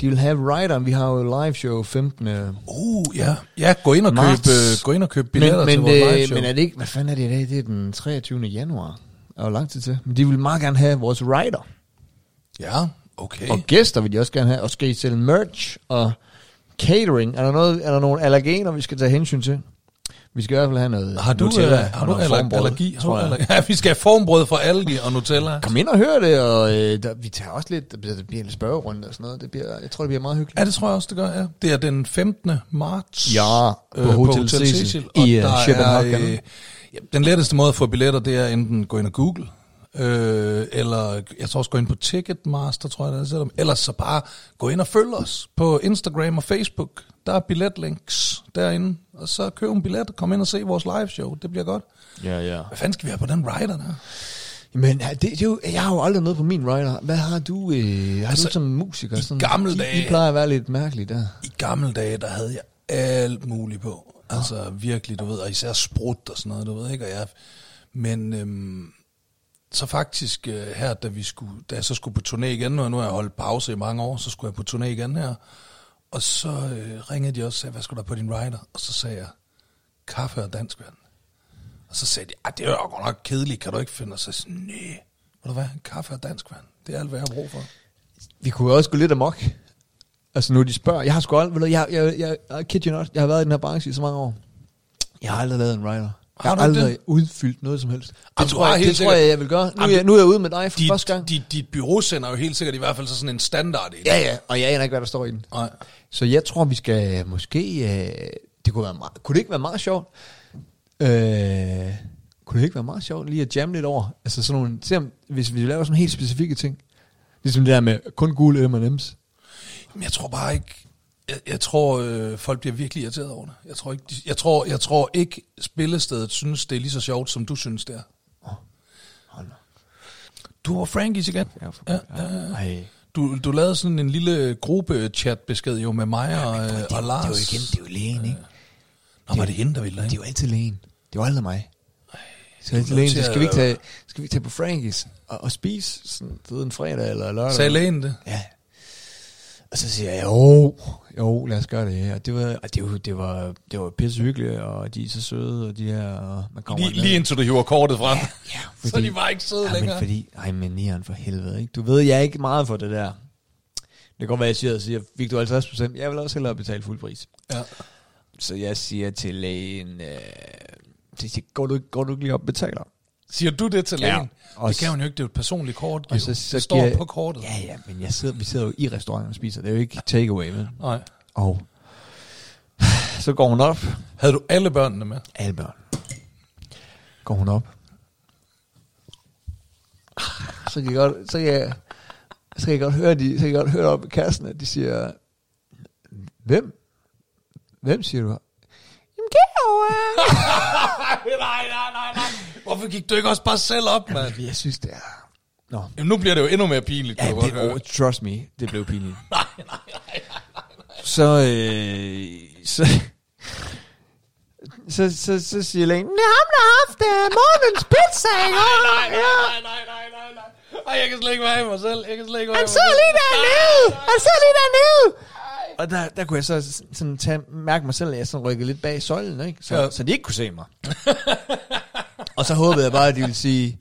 de vil have rideren. Vi har jo live show 15. Men, Uh, ja. Ja, gå ind og Marts. køb, øh, gå ind og køb billetter men, til vores øh, live show. men er det ikke, hvad fanden er det i dag? Det er den 23. januar. Der er jo lang tid til. Men de vil meget gerne have vores rider. Ja, okay. Og gæster vil de også gerne have. Og skal I sælge merch og catering? Er der, noget, er der nogle allergener, vi skal tage hensyn til? Vi skal i hvert fald have noget Har du, Nutella Nutella, øh, har og du noget aller, formbrød, allergi? Har du tror jeg. allergi? (laughs) Ja, vi skal have formbrød fra Aldi og Nutella. Kom ind og hør det, og øh, der, vi tager også lidt, der bliver, der bliver en spørgerunde og sådan noget. Det bliver, jeg tror, det bliver meget hyggeligt. Ja, det tror jeg også, det gør, ja. Det er den 15. marts. øh, Ja, på Hotel Cecil og i, øh, der er, Copenhagen. ja, den letteste måde at få billetter, det er enten gå ind og google, øh, eller jeg tror også gå ind på Ticketmaster, tror jeg, der er selvom. Ellers så bare gå ind og følg os på Instagram og Facebook. Der er billetlinks derinde, og så køb en billet og kom ind og se vores live show. Det bliver godt. Ja, ja. Hvad fanden skal vi have på den rider der? Men det, det er jo, jeg har jo aldrig noget på min rider. Hvad har du, øh, har altså, du som musiker? Sådan, gamle I- I dage- plejer at være lidt mærkelige der. I gamle dage, der havde jeg alt muligt på. Altså virkelig, du ved, og især sprut og sådan noget, du ved ikke, og jeg... Men øhm, så faktisk øh, her, da, vi skulle, da jeg så skulle på turné igen, og nu har jeg holdt pause i mange år, så skulle jeg på turné igen her, og så øh, ringede de også og sagde, hvad skulle der på din rider? Og så sagde jeg, kaffe og dansk vand. Og så sagde de, "Ej, det er jo godt nok kedeligt, kan du ikke finde? Og så sagde jeg, nej, ved du hvad, kaffe og dansk vand, det er alt, hvad jeg har brug for. Vi kunne jo også gå lidt amok. Altså nu de spørger. Jeg har sgu aldrig, ved du, jeg, jeg, jeg, jeg, I kid you not, jeg har været i den her branche i så mange år. Jeg har aldrig lavet en rider. Jeg har du ikke aldrig udfyldt noget som helst. Det, Jamen, du tror, har jeg, helt det tror jeg, sikkert- jeg vil gøre. Nu, er Jamen, jeg, nu er jeg ude med dig for Dit, første gang. dit, dit bureau sender jo helt sikkert i hvert fald så sådan en standard i det. Ja, ja, og jeg aner ikke, hvad der står i den. Nej. Så jeg tror, vi skal måske... Øh, det kunne, være meget, kunne det ikke være meget sjovt? Øh, kunne det ikke være meget sjovt lige at jamme lidt over? Altså sådan nogle... Se om, hvis vi laver sådan helt specifikke ting. Ligesom det der med kun gule M&M's. Men jeg tror bare ikke... Jeg, jeg tror, øh, folk bliver virkelig irriteret over det. Jeg tror, ikke, de, jeg, tror, jeg tror ikke, spillestedet synes, det er lige så sjovt, som du synes, det er. Hold da. Du var Frankies igen. Ja, for- Ja, ja, ja. Ej. Du, du lavede sådan en lille gruppe-chat-besked jo med mig og, øh, og Lars. Det var igen, det var lægen, ikke? Nå, var det hende, der ville Det det? var altid lægen. Det var aldrig mig. Det var altid nødt lægen, til så skal vi ikke at- tage, skal vi ikke tage på Frankies og, og spise sådan, du ved, en fredag eller lørdag. Sagde lægen det? Ja. Og så siger jeg, jo, jo, lad os gøre det. Og det var, og det var, det var, det var pisse hyggeligt, og de er så søde, og de her, og man kommer Lige, lige indtil du hiver kortet frem. Ja, Fordi, (laughs) så er de bare ikke søde ja, men længere. fordi, ej, men nieren for helvede, ikke? Du ved, jeg er ikke meget for det der. Det kan godt være, jeg siger, siger fik du 50 procent? Jeg vil også hellere betale fuld pris. Ja. Så jeg siger til lægen, øh, så siger, går, du, ikke- går du ikke lige op og betaler? Siger du det til Ja. lægen? Ja. Og Det s- kan man jo ikke, det er jo et personligt kort, jo. Så, så det står giver- på kortet. Ja, ja, men jeg sidder, vi sidder jo i restauranten og spiser. Det er jo ikke takeaway, vel? Nej. Og så går hun op. Havde du alle børnene med? Alle børn. Går hun op. Ah, Så kan jeg godt, så kan jeg, så kan jeg godt høre, de, så kan jeg godt høre op i kassen, at de siger, hvem? Hvem siger du? Jamen derovre. nej, nej, nej, nej. Hvorfor gik du ikke også bare selv op, mand? Jeg synes, det er... Nå. Jamen, nu bliver det jo endnu mere pinligt, kan Ja, du godt høre. det, oh, trust me, det blev pinligt. (laughs) Nej, nej, nej. så, øh, så, så, så, så siger lægen, det er ham, der har haft uh, morgens pizza, ikke? Nej, Ja. nej, nej, nej, nej, nej. Ej, jeg kan slet ikke være i mig selv. Jeg kan slet ikke være i Han mig sidder selv. lige dernede! Han sidder lige dernede! Ej. Og der, der kunne jeg så s- sådan tage, mærke mig selv, at jeg sådan rykkede lidt bag søjlen, ikke? Så, Ja. ja. så de ikke kunne se mig. og så håbede jeg bare, at de ville sige,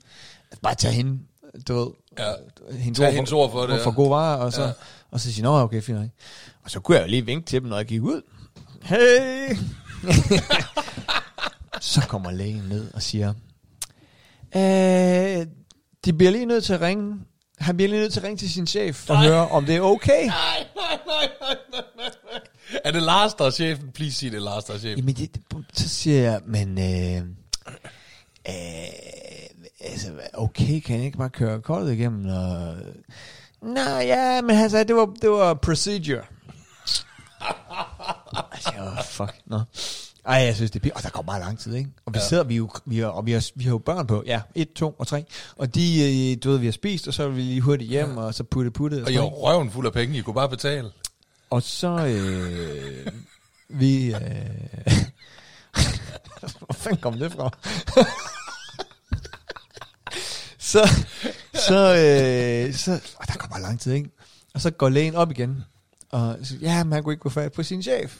bare tag hende, du ved. Ja. Hendes Tag ord hendes for, ord for det, ja. For god varer, og så, Ja. ja. og så sige, nå, okay, fint nok. Og så kunne jeg jo lige vinke til dem, når jeg gik ud. Hey! (laughs) så kommer lægen ned og siger, Øh, de bliver lige nødt til at ringe. Han bliver lige nødt til at ringe til sin chef og høre, om det er okay. Nej, nej, nej, nej, nej, nej, nej. Er det Lars, der er chefen? Please sig det, er Lars, der er chefen. Jamen, det, det- så siger jeg, men... Øh, øh, altså, okay, kan jeg ikke bare køre kortet igennem? Og... Nej, ja, men han sagde, det var, det var procedure. (laughs) altså, jeg var, fuck, nå. Ej, jeg synes, det er pin- Og der går meget lang tid, ikke? Og vi ja. sidder, vi, er jo, vi, er, og vi, har, vi har jo børn på. Ja, et, to og tre. Og de, øh, du ved, vi har spist, og så er vi lige hurtigt hjem, og så putte putte. Og sådan jeg noget, er røven fuld af penge, I kunne bare betale. og så øh, vi... Øh, (laughs) hvor fanden kom det fra? (laughs) så, så, øh, så, og der går bare lang tid, ikke? Og så går lægen op igen, og siger, ja, man kunne ikke gå fat på sin chef.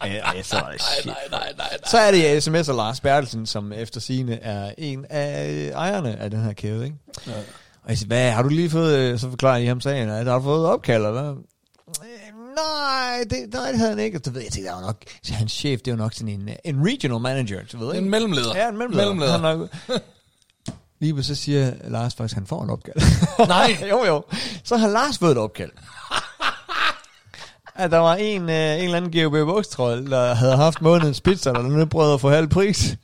Nej, nej, nej, Nej, nej, nej, nej, nej. (laughs) så er det jeg sms'er Lars Bertelsen, som efter sine er en af ejerne af den her kæde, ikke? Ja. Og jeg siger, hvad, har du lige fået, øh, så forklarer jeg ham sagen, at har du fået opkald, eller hvad? "Øh, Nej, det, nej, det havde han ikke. Og så ved jeg, jeg tænkte, der var nok, så hans chef, det var nok sådan en, øh, en regional manager, du ved, ikke? En mellemleder. Ja, en mellemleder. mellemleder. Han er nok... (laughs) Lige på, så siger Lars faktisk, at han får en opkald. (laughs) Nej. (laughs) jo, jo. Så har Lars fået et (laughs) opkald. At der var en, øh, en eller anden GOB Vokstrøl, der havde haft månedens pizza, der nu prøvede at få halv pris.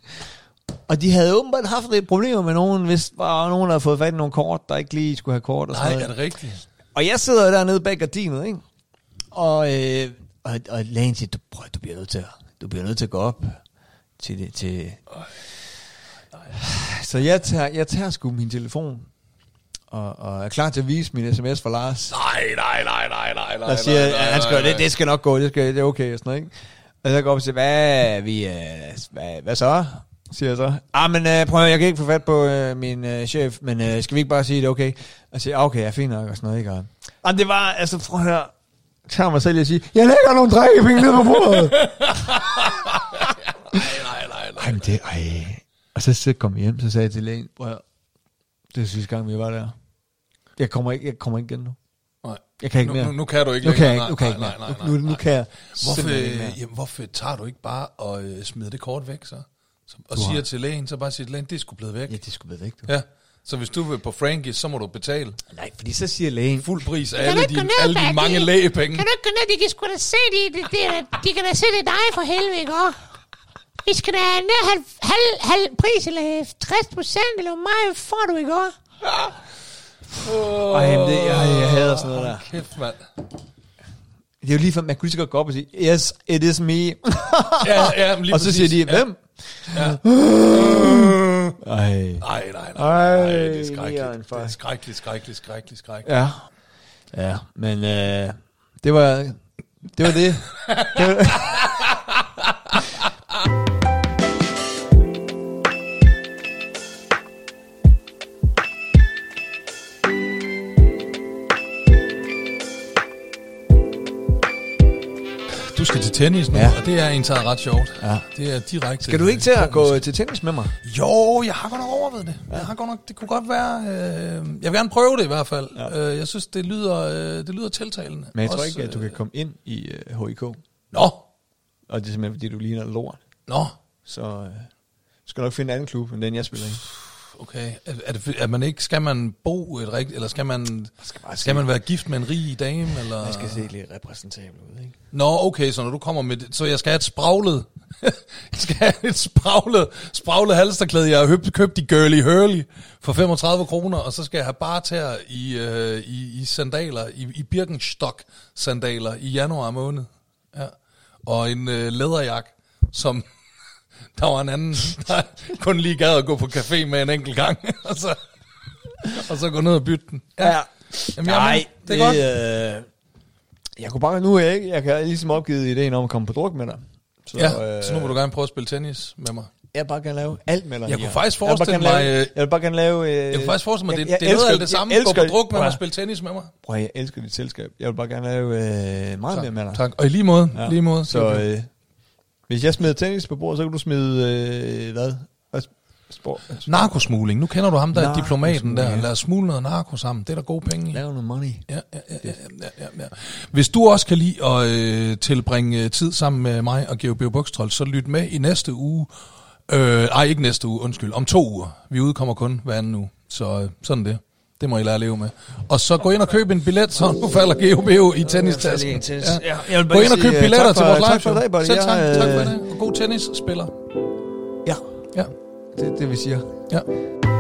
Og de havde åbenbart haft lidt problemer med nogen, hvis der var nogen, der havde fået fat i nogle kort, der ikke lige skulle have kort og sådan Nej, noget. er det rigtigt? Og jeg sidder dernede bag gardinet, ikke? Og, øh, og, og lægen siger, du, prøv, du bliver nødt til at, du bliver nødt til at gå op til det, til... Så jeg tager, jeg tager sgu min telefon, og, og er klar til at vise min sms for Lars, Nej, nej, nej, nej, nej, nej. der siger, nej, nej, at han nej, skal, nej. det, det skal nok gå, det, skal, det er okay, og sådan noget, ikke? Og så går jeg op og siger, hvad, vi, øh, hvad, hvad så? siger jeg så. Ah, men øh, prøv at høre, jeg kan ikke få fat på øh, min øh, chef, men øh, skal vi ikke bare sige, det er okay? Og jeg siger, ah, okay, jeg er fint nok, og sådan noget, ikke? Og, og det var, altså, prøv at høre, jeg tager mig selv i at sige, jeg lægger nogle drikkepenge ned på (laughs) bordet. Nej, nej, nej. ej, men det, ej. Og så, så kom jeg hjem, så sagde jeg til lægen, prøv at høre, det er sidste gang, vi var der. Jeg kommer ikke, jeg kommer ikke igen nu. nej. Jeg kan ikke nu, mere. Nu, nu kan du ikke Nu kan jeg længere. ikke, nu kan jeg ikke Nej, nej, mere. nej, Nu, nej, nu nej. kan jeg Hvorfor, øh, simpelthen ikke mere. jamen, hvorfor tager du ikke bare og øh, smider det kort væk så? så og siger til lægen, så bare siger til lægen, det er sgu blevet væk. Ja, det skulle være væk, du. Ja. Så hvis du vil på Frankie, så må du betale Nej, fordi så siger lægen, fuld pris af Kan du alle ikke gå dine, ned alle bag dine mange det? lægepenge. Kan du ikke gå ned? De kan sgu da se det. det, det er, de kan da se det er dig for helvede, ikke også? Vi skal da ned halv, halv, halv pris, eller 60 procent, eller hvor meget får du, ikke også? Ej, jamen det, jeg, jeg hader sådan noget der. Kæft, (laughs) mand. Det er jo lige for, man kunne lige så godt gå op og sige, yes, it is me. Ja, ja, men lige og så siger præcis. de, Ja. hvem? Ja. (gasps) Ej. Nej, nej, nej, nej, nej, det Ej, er nieren, skrækkeligt. Det er fuck. skrækkeligt, skrækkeligt, skrækkeligt, skrækkeligt. Ja. Ja, men øh, det var det. Var (laughs) det. det var, Du skal til tennis nu, Ja. og det er egentlig ret sjovt. Ja. Det er direkte. skal du ikke til at gå øh, til tennis med mig? Jo, jeg har godt nok overvejet det. Jeg har godt nok, det kunne godt være... Øh, jeg vil gerne prøve det i hvert fald. Ja. Øh, jeg synes, det lyder, øh, det lyder tiltalende. Men jeg tror Også, ikke, at du øh, kan komme ind i øh, HIK. Nå, Og det er simpelthen, fordi du ligner lort. Nå, Så øh, skal du nok finde en anden klub, end den jeg spiller i. okay. Er, er, det, er man ikke, skal man bo et rigtigt, eller skal man, skal skal, bare se. skal man være gift med en rig dame, eller? Man skal se lidt repræsentabel ud, ikke? Nå, okay, så når du kommer med det, så jeg skal have et spraglet, (laughs) jeg skal have et spraglet, spraglet halsterklæde, jeg har høbt, købt i Girly Hurley for 35 kroner, og så skal jeg have bartær i, øh, i, i sandaler, i, i Birkenstock sandaler i januar måned. Ja. Og en øh, læderjakke, som (laughs) der var en anden, der kun lige gad at gå på café med en enkelt gang, (laughs) og så, og så gå ned og bytte den. Ja. Jamen, jeg er med. det er godt. godt. Øh, jeg kunne bare, nu er jeg ikke, jeg kan ligesom opgivet ideen om at komme på druk med dig. Så, øh, Ja, så nu må du gerne prøve at spille tennis med mig. Jeg vil bare gerne lave alt med dig. Jeg kunne Ian. faktisk Jeg vil bare forestille gerne lave- mig, øh, Jeg vil bare gerne lave... øh, Jeg kunne faktisk forestille mig, jeg- det, jeg det er noget elsker- af det samme. jeg Gå på elsker- druk med mig Prøv og at- spille tennis med mig. Prøv at, jeg elsker dit selskab. Jeg vil bare gerne lave øh, meget mere med dig. Tak. Og i lige måde. Ja. Lige måde. Så øh, hvis jeg smider tennis på bordet, så kan du smide... Øh, hvad? Hvad? Sport. Narkosmugling. Nu kender du ham der, øh, Narkosmugling, diplomaten der. ja. Lad os smugle noget narko sammen. Det er der gode penge i. Ja, Lave noget money. ja, ja, ja, ja, ja, ja. Hvis du også kan lide at øh, tilbringe øh, tid sammen med mig og Geo Bio Bukstrøl, så lyt med i næste uge. Øh, ej, ikke næste uge. Undskyld. Om to uger. Vi udkommer kun hver anden uge. Så øh, sådan det. Det må I lære at leve med. Og så gå ind og køb en billet, så Uh. nu falder GOBO i tennistasken. Ja. Jeg vil Gå ind og køb billetter tak for, til vores live Tak for i dag, buddy. Selv tak. Jeg, Tak for i øh, dag. Og god tennisspiller. Ja, Ja, det er det, vi siger. ja.